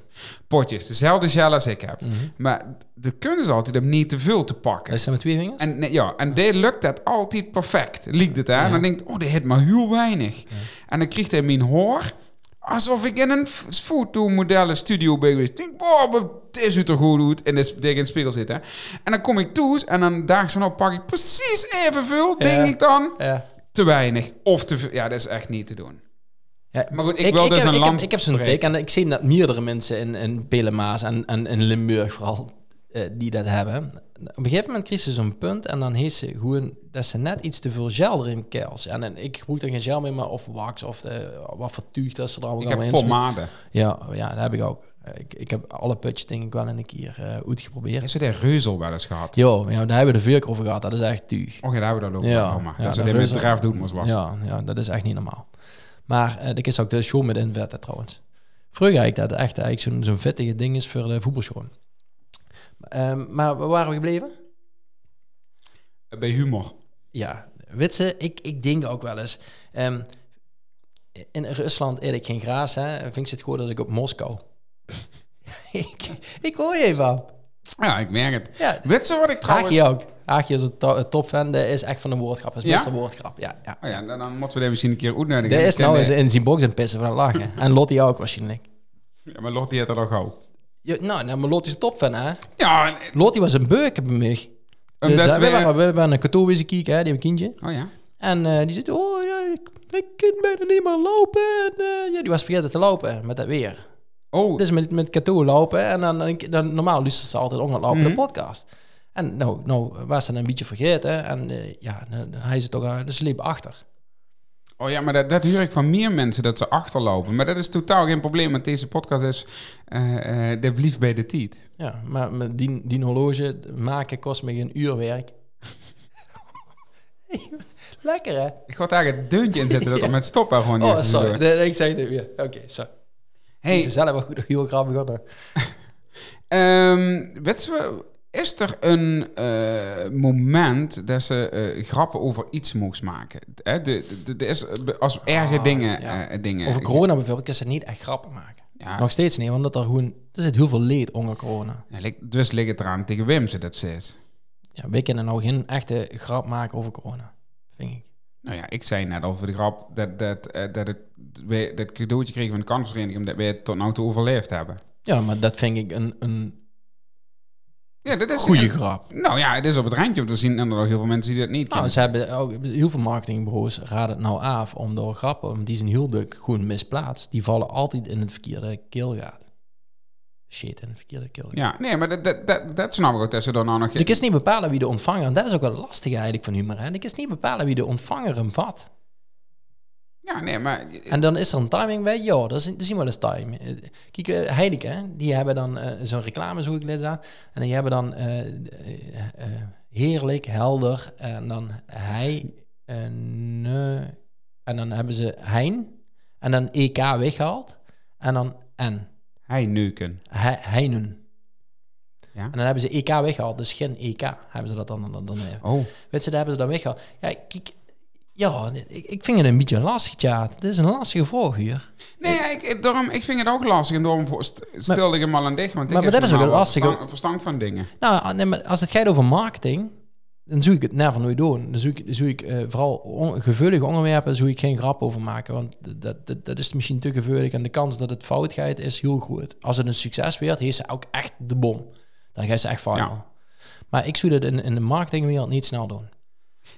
Potjes. Dezelfde gel als ik heb. Mhm. Maar de kunst is altijd om niet te veel te pakken. Is dat met twee vingers? En, nee, ja, en dit lukt dat altijd perfect. Liekt het, hè? Ja. En dan denkt, oh, dit heeft maar heel weinig. En dan krijgt hij mijn hoor, alsof ik in een f- fotomodellen studio ben geweest. Ik denk, wow, maar dit is hoe het er goed doet. En dit is- dit in het spiegel zitten. En dan kom ik toe en dan daags en op pak ik precies evenveel, denk ik dan. Ja. Te weinig of te veel. Ja, dat is echt niet te doen. Ja, Maar goed, ik, wil dus een heb, ik, heb, land ik heb zo'n breken. tik en ik zie dat meerdere mensen in, in Pelemaas en, en in Limburg vooral eh, die dat hebben. Op een gegeven moment kreeg ze zo'n punt en dan heeft ze gewoon dat ze net iets te veel gel erin kels. En, en ik gebruik er geen gel mee, maar of wax of eh, wat voor tuig dat ze er allemaal Ik heb in pomade. Ja, ja, dat heb ik ook. Eh, Ik, ik heb alle putjes denk ik wel een keer eh uitgeprobeerd. Is er de reuzel wel eens gehad? Jo, ja, daar hebben we de vuur over gehad. Dat is echt tuig. Och, ja, daar hebben we dat ook Ja, wel gemaakt. ja, dat ze de dit met reuzel. draaf doen moest was. Ja, ja, dat is echt niet normaal. Maar eh ik is ook de show met invetten trouwens. Vroeger had ik dat echt eigenlijk zo'n zo'n vettige ding is voor de voetbalshow. Ehm, maar waar waren we gebleven? Bij humor. Ja, witse, ik, ik denk ook wel eens. ehm, in Rusland eet ik geen graas, hè. Vind ik het goed als ik op Moskou. ik, ik hoor je van. Ja, ik merk het. Ja, Weet je wat ik trouwens... Haagje ook. Haagje is een to- een topfan, dat is echt van de woordgrap. is Ja? best een woordgrap, ja. ja. Oh ja, dan, dan moeten we dit misschien een keer uitnodigen. Er is Ik ken nou eens de- in zijn box een pissen van het lachen. en Lottie ook waarschijnlijk. Ja, maar Lord die had dat al gauw. Ja, nou, nou, maar Lottie is een topfan, hè? Ja, en- Lottie was een beuken bij mij. omdat Dus, hè, we... we, waren, we waren een kantoor wezen kijken, hè, die hebben een kindje. Oh ja. En eh, die zit, oh ja, ik, ik kan bijna niet meer lopen. En, eh, ja, die was vergeten te lopen met dat weer. Oh, Dus met, met kantoor lopen en dan, dan, dan normaal luistert ze altijd ongelopen de podcast. En nou, nou was ze een beetje vergeten en eh, ja, dan- dan- hij zit toch, eh, dus ze liep achter. oh ja, maar dat, dat huur ik van meer mensen, dat ze achterlopen. Maar dat is totaal geen probleem, want deze podcast is... eh eh de blief bij de tiet. Ja, maar met die, die horloge maken kost me geen uur werk. Lekker hè? Ik ga daar een deuntje in zetten dat er met stoppen gewoon Oh, eerst is sorry. gebeurd. Nee, nee, ik zei het nu weer. Oké, sorry. Hey. Ze Hey, zelf wel goed nog heel grappig hoor. ehm weet je wel, Is er een eh, moment dat ze eh, grappen over iets moest maken? Hè, de, de, de- er is, eh, als erge Ah, dingen, ja. Ah. eh, dingen. Over corona bijvoorbeeld kan ze niet echt grappen maken. Ja, Nog steeds niet, want dat er gewoon... Er zit heel veel leed onder corona. Ja, lik- dus ligt het eraan tegen Wim ze dat zegt. Ja, wij kunnen nou geen echte grap maken over corona, vind ik. Nou ja, ik zei net over de grap dat, dat, eh, dat, het, we, dat cadeautje kregen van de kansvereniging omdat wij het tot nou toe overleefd hebben. Ja, maar dat vind ik een, een Ja, dat is goede en- grap. Nou ja, het is op het randje, want er zien inderdaad heel veel mensen die dat niet Nou, kennen. ze hebben ook heel veel marketingbureaus raden het nou af om door grappen, want die zijn heel druk gewoon misplaatst. Die vallen altijd in het verkeerde keelgaat. Shit, in het verkeerde keelgaat. ja, nee, maar dat, dat, dat, dat snap ik ook, dat ze dan nou nog... Ik is niet bepalen wie de ontvanger, en dat is ook wel lastig eigenlijk van humor. En ik is niet bepalen wie de ontvanger hem vat. Ja, nee, maar... En dan is er een timing bij, ja, dat is, dat is niet wel eens time. Eh, Kijk, eh, Heineken, hè, die hebben dan eh, zo'n reclame, zoek ik net aan. En die hebben dan eh, eh, eh, heerlijk, helder. En dan hij, en, en dan hebben ze hein. En dan EK weggehaald. En dan en, Hij neuken. he, heinen. Ja. En dan hebben ze EK weggehaald, dus geen EK hebben ze dat dan, dan, dan even. Oh, Weet ze, daar hebben ze dan weggehaald. Ja, kijk, ja, ik, ik vind het een beetje lastig, ja. Het is een lastige vraag hier. nee, ja, ik, ik- daarom, ik vind het ook lastig en daarom voor- st- stelde ik hem al aan dicht. Want ik maar heb dat is ook normaal wel lastig, Verstand, verstand van dingen. Nou, nee, maar als het gaat over marketing, dan zoek ik het never nooit doen. Dan zoek, ik- dan zoek ik eh, vooral on- gevullige onderwerpen, daar zoek ik geen grap over maken. Want dat, dat, dat is misschien te gevullig en de kans dat het fout gaat is heel groot. Als het een succes wordt, heeft ze ook echt de bom. Dan gaat ze echt viral. Ja. Maar ik zou dat in, in de marketingwereld niet snel doen.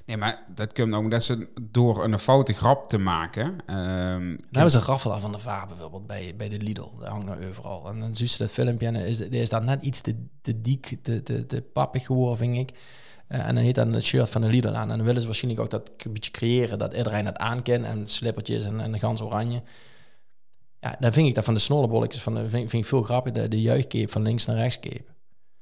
Nee, maar dat komt ook dat ze door een foute grap te maken... ehm, Dan hebben ze een raffelaar van de vaar bijvoorbeeld bij, bij de Lidl. Dat hangt nou overal. En dan zoek ze dat filmpje en dan is, dan is dat net iets te, te diek, te, te, te pappig geworden, vind ik. Eh, en dan heet dat het shirt van de Lidl aan. En dan willen ze waarschijnlijk ook dat een beetje creëren, dat iedereen dat aankent. En slippertjes en, en de gans oranje. Ja, dan vind ik dat van de snollebolletjes, van de, vind, vind ik veel grappiger, de, de juichcape van links naar rechts cape.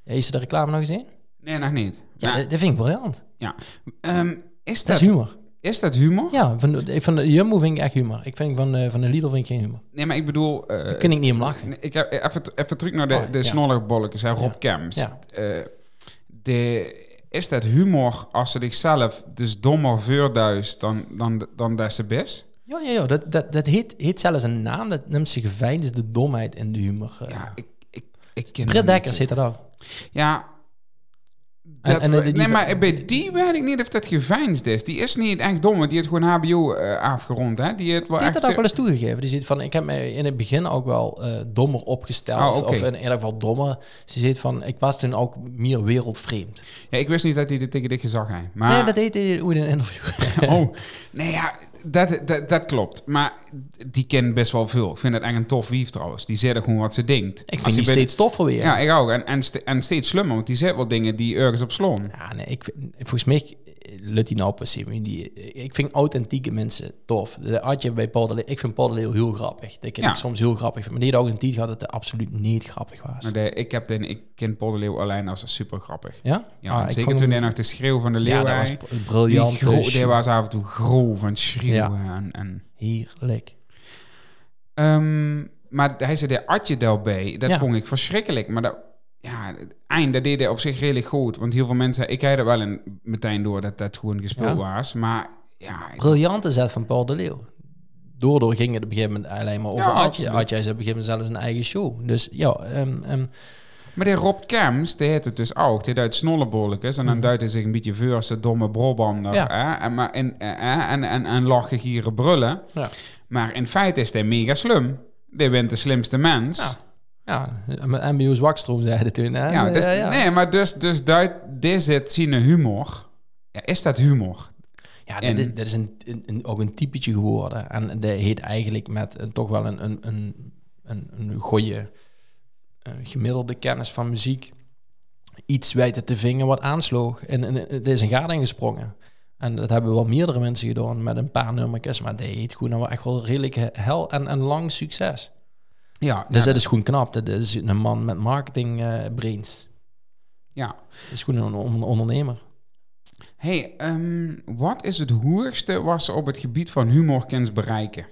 Ja, Heeft ze de reclame nog eens in? nee, nog niet. Ja, Maar, dat, dat vind ik briljant. ja. Ehm, is, Dat dat, is humor. is dat humor? Ja, van de, van de Jumbo vind ik echt humor. Ik vind van de, van de Lidl vind ik geen humor. Nee, maar ik bedoel... eh, Daar kan ik niet om lachen. Nee, Ik heb eh, even, even terug naar de, Oh, de ja. snollerbolletjes, hè, Rob Ja. Kemps. Ja. Eh, de, Is dat humor als ze zichzelf dus dommer veurduist dan, dan, dan dat ze best? Ja, ja, ja. Dat, dat, dat heet, heet zelfs een naam. Dat noemt zich geveinsde domheid in de humor. eh. Ja, ik, ik, ik ken Britt dat niet. Dekkers heet dat ook. Ja. En- Dat en eh, we- die- nee, maar bij die weet ik niet of dat geveinsd is. Die is niet echt dom, want die heeft gewoon HBO eh, afgerond. Hè? Die heeft wel Die heeft echt... dat ook ze- wel eens toegegeven. Die zegt van, ik heb mij in het begin ook wel eh, dommer opgesteld. Oh, oké. Of in ieder geval dommer. Ze zegt van, ik was toen ook meer wereldvreemd. Ja, ik wist niet dat hij dit tegen dit gezag had. Maar... Nee, dat deed hij ooit in een interview. Oh, nee ja, dat, dat, dat klopt. Maar die kent best wel veel. Ik vind het echt een tof wief trouwens. Die zegt gewoon wat ze denkt. ik Als vind die je bij- steeds toffer weer. Ja, ik ook. En, en, ste- en steeds slimmer, want die zegt wel dingen die ergens op slaan. Ja, nee, ik vind, volgens mij lukt die nou per se, maar die- Ik vind authentieke mensen tof. De Adje bij Paul de Leeuw- ik vind Paul de Leeuw heel grappig. Dat kan Ja. ik soms heel grappig vinden. Maar die had ook een tijd gehad dat het absoluut niet grappig was. Maar de, ik, heb de, ik ken Paul de Leeuw alleen als super grappig. ja? Ja, Ah, en ik zeker vond toen hij hem- nog de schreeuw van de leeuw Ja, dat had. was br- Die briljant. gro- dus die was af en toe grof en schreeuwen. Ja. En, en, Heerlijk. Ehm, maar hij zei de Adje daarbij. Dat Ja. vond ik verschrikkelijk. Maar dat, ja, het eind, dat deed hij op zich redelijk goed. Want heel veel mensen... Ik had er wel een, meteen door dat dat gewoon gespeeld was. Maar ja... ik- Briljante zet van Paul de Leeuw. Doordoor ging het op een gegeven moment alleen maar over Ja, Adje. absoluut. Adje is op een gegeven moment zelfs een eigen show. Dus ja, ehm, ehm, Maar die Rob Kems, die heet het dus ook. Die duidt snollebolletjes. En dan duidt hij zich een beetje voor als de domme brobander. Mhm. Ja. hè. En, maar, en, eh, en, en, en lachen, gieren, brullen. Ja. Maar in feite is hij mega slim. Die bent de slimste mens. Ja. ja, MBO Zwakstroom zeiden toen. Hè? Ja, dus, ja, eh, ja. Nee, maar dus, dus duidt dit zit zien een humor. Ja, is dat humor? Ja, En- dit is, dit is een, een- een- ook een typetje geworden. En dat heet eigenlijk met een, toch wel een, een, een, een, een goede eh, gemiddelde kennis van muziek iets weten te vingen wat aansloog. En, en het is een gat ingesprongen. En dat hebben wel meerdere mensen gedaan met een paar nummertjes. Maar dat heet gewoon wel echt wel redelijk he- hel en een lang succes. Ja, Dus ja, dat is gewoon knap. Dat is een man met marketing eh, brains. ja. Dat is gewoon een, on- ondernemer. Hey, ehm, wat is het hoerigste wat ze op het gebied van humor kunt bereiken?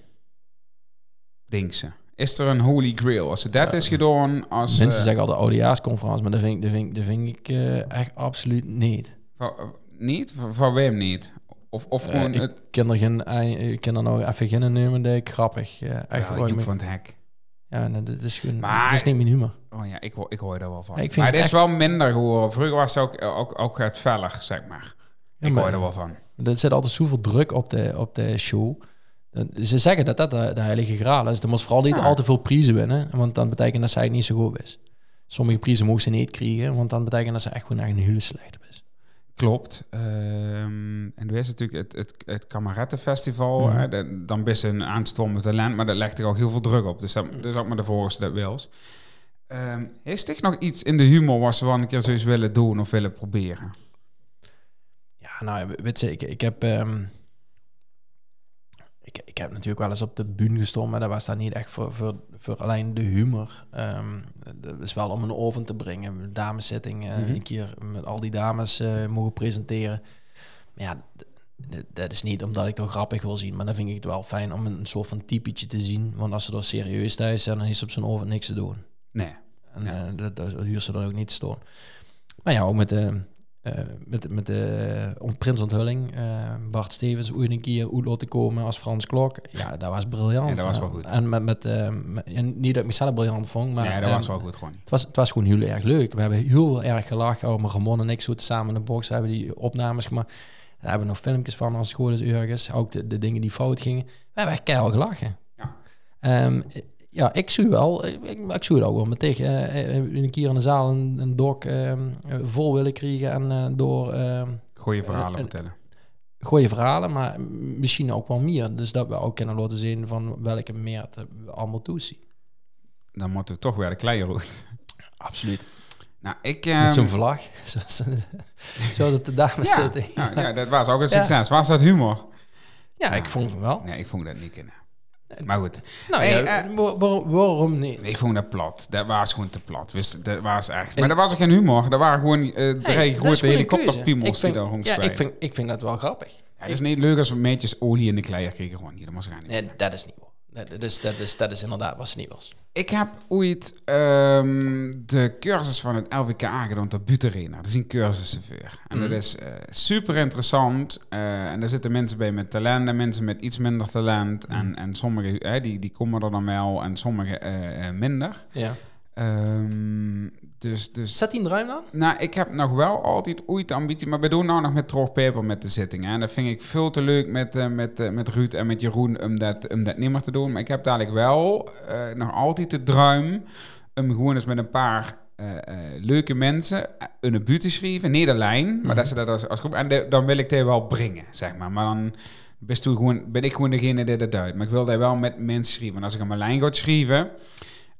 Denk ze. Is er een holy grail? Als ze dat is gedaan, als... Mensen eh, zeggen al de oudejaarsconferentie, maar dat vind ik, dat vind ik, dat vind ik eh, echt absoluut niet. van- eh, niet? Van, van wem niet? Of, of Eh, gewoon ik het... ken er geen, eh, ik ken er nou even geen nemen dat ik grappig. eh, echt Ja, ooit Joep mee- van het hek. ja, nee, dat is gewoon, Maar- dat is niet mijn humor. Oh ja, ik, hoor- ik hoor daar wel van. Ja, ik vind maar het het is wel minder geworden. Vroeger was het ook, eh, ook, ook het veller, zeg maar. Ja, ik maar- hoor er wel van. Er zit altijd zoveel druk op de, op de show. Dat- Ze zeggen dat dat de, de heilige graal is. Er moest vooral niet Ja. al te veel prijzen winnen, want dan betekent dat zij het niet zo goed is. Sommige prijzen mogen ze niet krijgen, want dan betekent dat ze echt gewoon echt een hele slechte is. Klopt. Ehm, en er is natuurlijk het, het, het Kamarettenfestival. Mhm. hè, dat- dan best een aanstormend talent, maar dat legt er ook heel veel druk op. Dus dat, dat is ook maar de voorste dat wils. Ehm is er nog iets in de humor wat ze wel een keer zo eens willen doen of willen proberen? Ja, nou, weet je, ik, ik heb... ehm, ik, ik heb natuurlijk wel eens op de bühne gestaan, maar dat was dan niet echt voor, voor, voor alleen de humor. Ehm, dat is wel om een oven te brengen. Dameszitting, eh, Mhm. een keer met al die dames eh, mogen presenteren. Maar ja, d- d- dat is niet omdat ik het grappig wil zien, maar dan vind ik het wel fijn om een soort van typetje te zien. Want als ze er serieus thuis zijn, dan is op zo'n oven niks te doen. Nee. En Ja. eh, dat, dat huurt ze er ook niet te storen. Maar ja, ook met de, eh met, met de om Prins Onthulling. eh, Bart Stevens, ooit een keer Oetlo te komen als Frans Klok. Ja, dat was briljant. Ja, dat was wel Eh, goed. En, met, met, eh, met- en niet dat ik mezelf briljant vond, maar nee, dat eh, was wel goed gewoon. Het, was, het was gewoon heel erg leuk. We hebben heel erg gelachen. Oh, maar Ramon en ik zoeten samen in de box. Hebben die opnames gemaakt. Daar hebben we nog filmpjes van als het goed is ergens. Ook de, de dingen die fout gingen. We hebben echt keihard gelachen. Ja. Ehm, ja, ik zie wel, ik, ik- ik zie het ook wel met tegen. eh, eh, een keer in de zaal een, een dok ehm, eh, vol willen krijgen en eh, door ehm Goeie verhalen eh, vertellen. goede verhalen, maar misschien ook wel meer. Dus dat we ook kunnen laten zien van welke meert we allemaal toezien. Dan moeten we toch weer de kleine roet. Absoluut. Nou, ik... Met zo'n ehm, vlag, zoals, zoals op de dames ja, zitten. ja, Ja, ja, dat was ook een Ja. succes. Was dat humor? ik vond hem wel. Nee, ik vond dat niet kunnen. Maar goed. Nou Hey, ja, eh, wa- wa- waarom niet? Ik vond dat plat. Dat was gewoon te plat. Wist- dat was echt. Maar dat was ook geen humor. Dat waren gewoon eh drie Hey, dat is grote gewoon een keuze. helikopterpiemels Ik die vind- daar rond Ja, ik Het vind, ik vind dat wel grappig. is niet leuk als we meetjes olie in de kleier kregen. Gewoon hier, dat was gaan niet. Nee, dat is niet waar. Nee, dat is, dat, is, dat is inderdaad wat ze niet was. Ik heb ooit ehm, de cursus van het LWKA gedaan ter Buterena. Dat is een cursuschauffeur. En Mhm. dat is eh, super interessant. eh, en daar zitten mensen bij met talent en mensen met iets minder talent. Mhm. En, en sommigen eh, die, die komen er dan wel en sommigen eh, eh, minder. Ja. Ehm, dus, dus Zat die in de ruim dan? nou, ik heb nog wel altijd ooit de ambitie, maar we doen nou nog met Trog Paper met de zittingen. En dat vind ik veel te leuk met, eh, met, eh, met Ruud en met Jeroen om dat, om dat niet meer te doen. Maar ik heb dadelijk wel eh, nog altijd de druim om gewoon eens met een paar eh, eh, leuke mensen eh, een buurt te schrijven, Nederlijn. Maar dat ze dat als, als groep, en de- dan wil ik die wel brengen, zeg maar. Maar dan bist u gewoon, ben ik gewoon degene die dat duidt. Maar ik wil daar wel met mensen schrijven. Want als ik aan mijn lijn ga schrijven...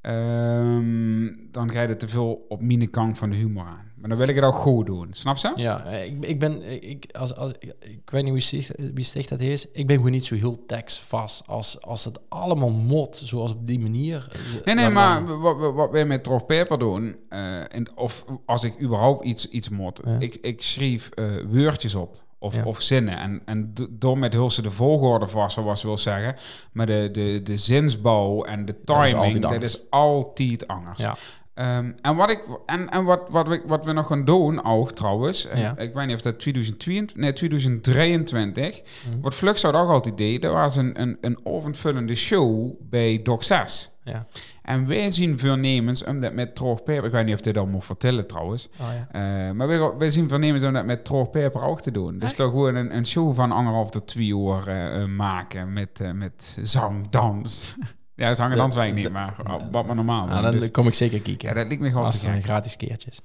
Ehm, dan ga je er te veel op mijn kant van de humor aan. Maar dan wil ik het ook goed doen. Snap ze? Ja, eh, ik, ik ben, ik, als, als, ik, ik weet niet wie sticht, wie sticht dat is. Ik ben gewoon niet zo heel tekstvast als, als het allemaal mot, zoals op die manier. eh, Nee, nee, dan- maar wat, wat, wat wij met Trof Paper doen, eh, en of als ik überhaupt iets, iets mot, Ja. ik, ik schreef eh, woordjes op. Of, Ja. of zinnen. En, en d- door met Hulse de volgorde vast, zoals ze wil zeggen. Maar de, de, de zinsbouw en de Dat is timing, altijd dat anders. is altijd anders. Ja. Ehm, en wat, ik, en, en wat, wat, we, wat we nog gaan doen, ook trouwens, eh, Ja. ik weet niet of dat 2022, nee, 2023, Mhm. wat Flux zou ook altijd deed, dat was een, een, een overvullende show bij Doc 6. Ja. En wij zien voornemens om dat met Troog Paper, ik weet niet of dit al moet vertellen trouwens, Oh, ja. eh, maar wij, wij zien voornemens om dat met Troog Paper ook te doen. Dus toch gewoon een, een show van anderhalf tot twee uur eh, eh, maken met, eh, met zang, dans. ja, zang en dans weet ik niet, maar eh, wat maar normaal. Ah, doen. dan Dus- kom ik zeker kijken. ja, dat lijkt me gewoon als te er gek. zijn gratis keertjes.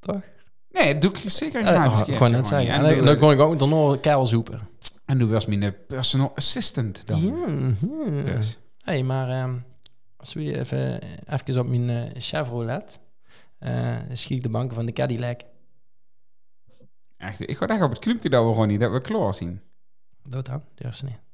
Toch? Nee, dat doe ik zeker een Eh, gratis oh, ik keertje wou net gewoon. zeggen. En En dan, doe- dan kon ik ook dan nog een kerel zoeken. En doe was mijn eh, personal assistant dan. Dus. hey, maar ehm, als we even, even op mijn eh, Chevrolet eh schiet ik de banken van de Cadillac. Echt, ik ga echt op het clubje dat we gewoon niet dat we klaar zien. Dood aan, durf ze niet.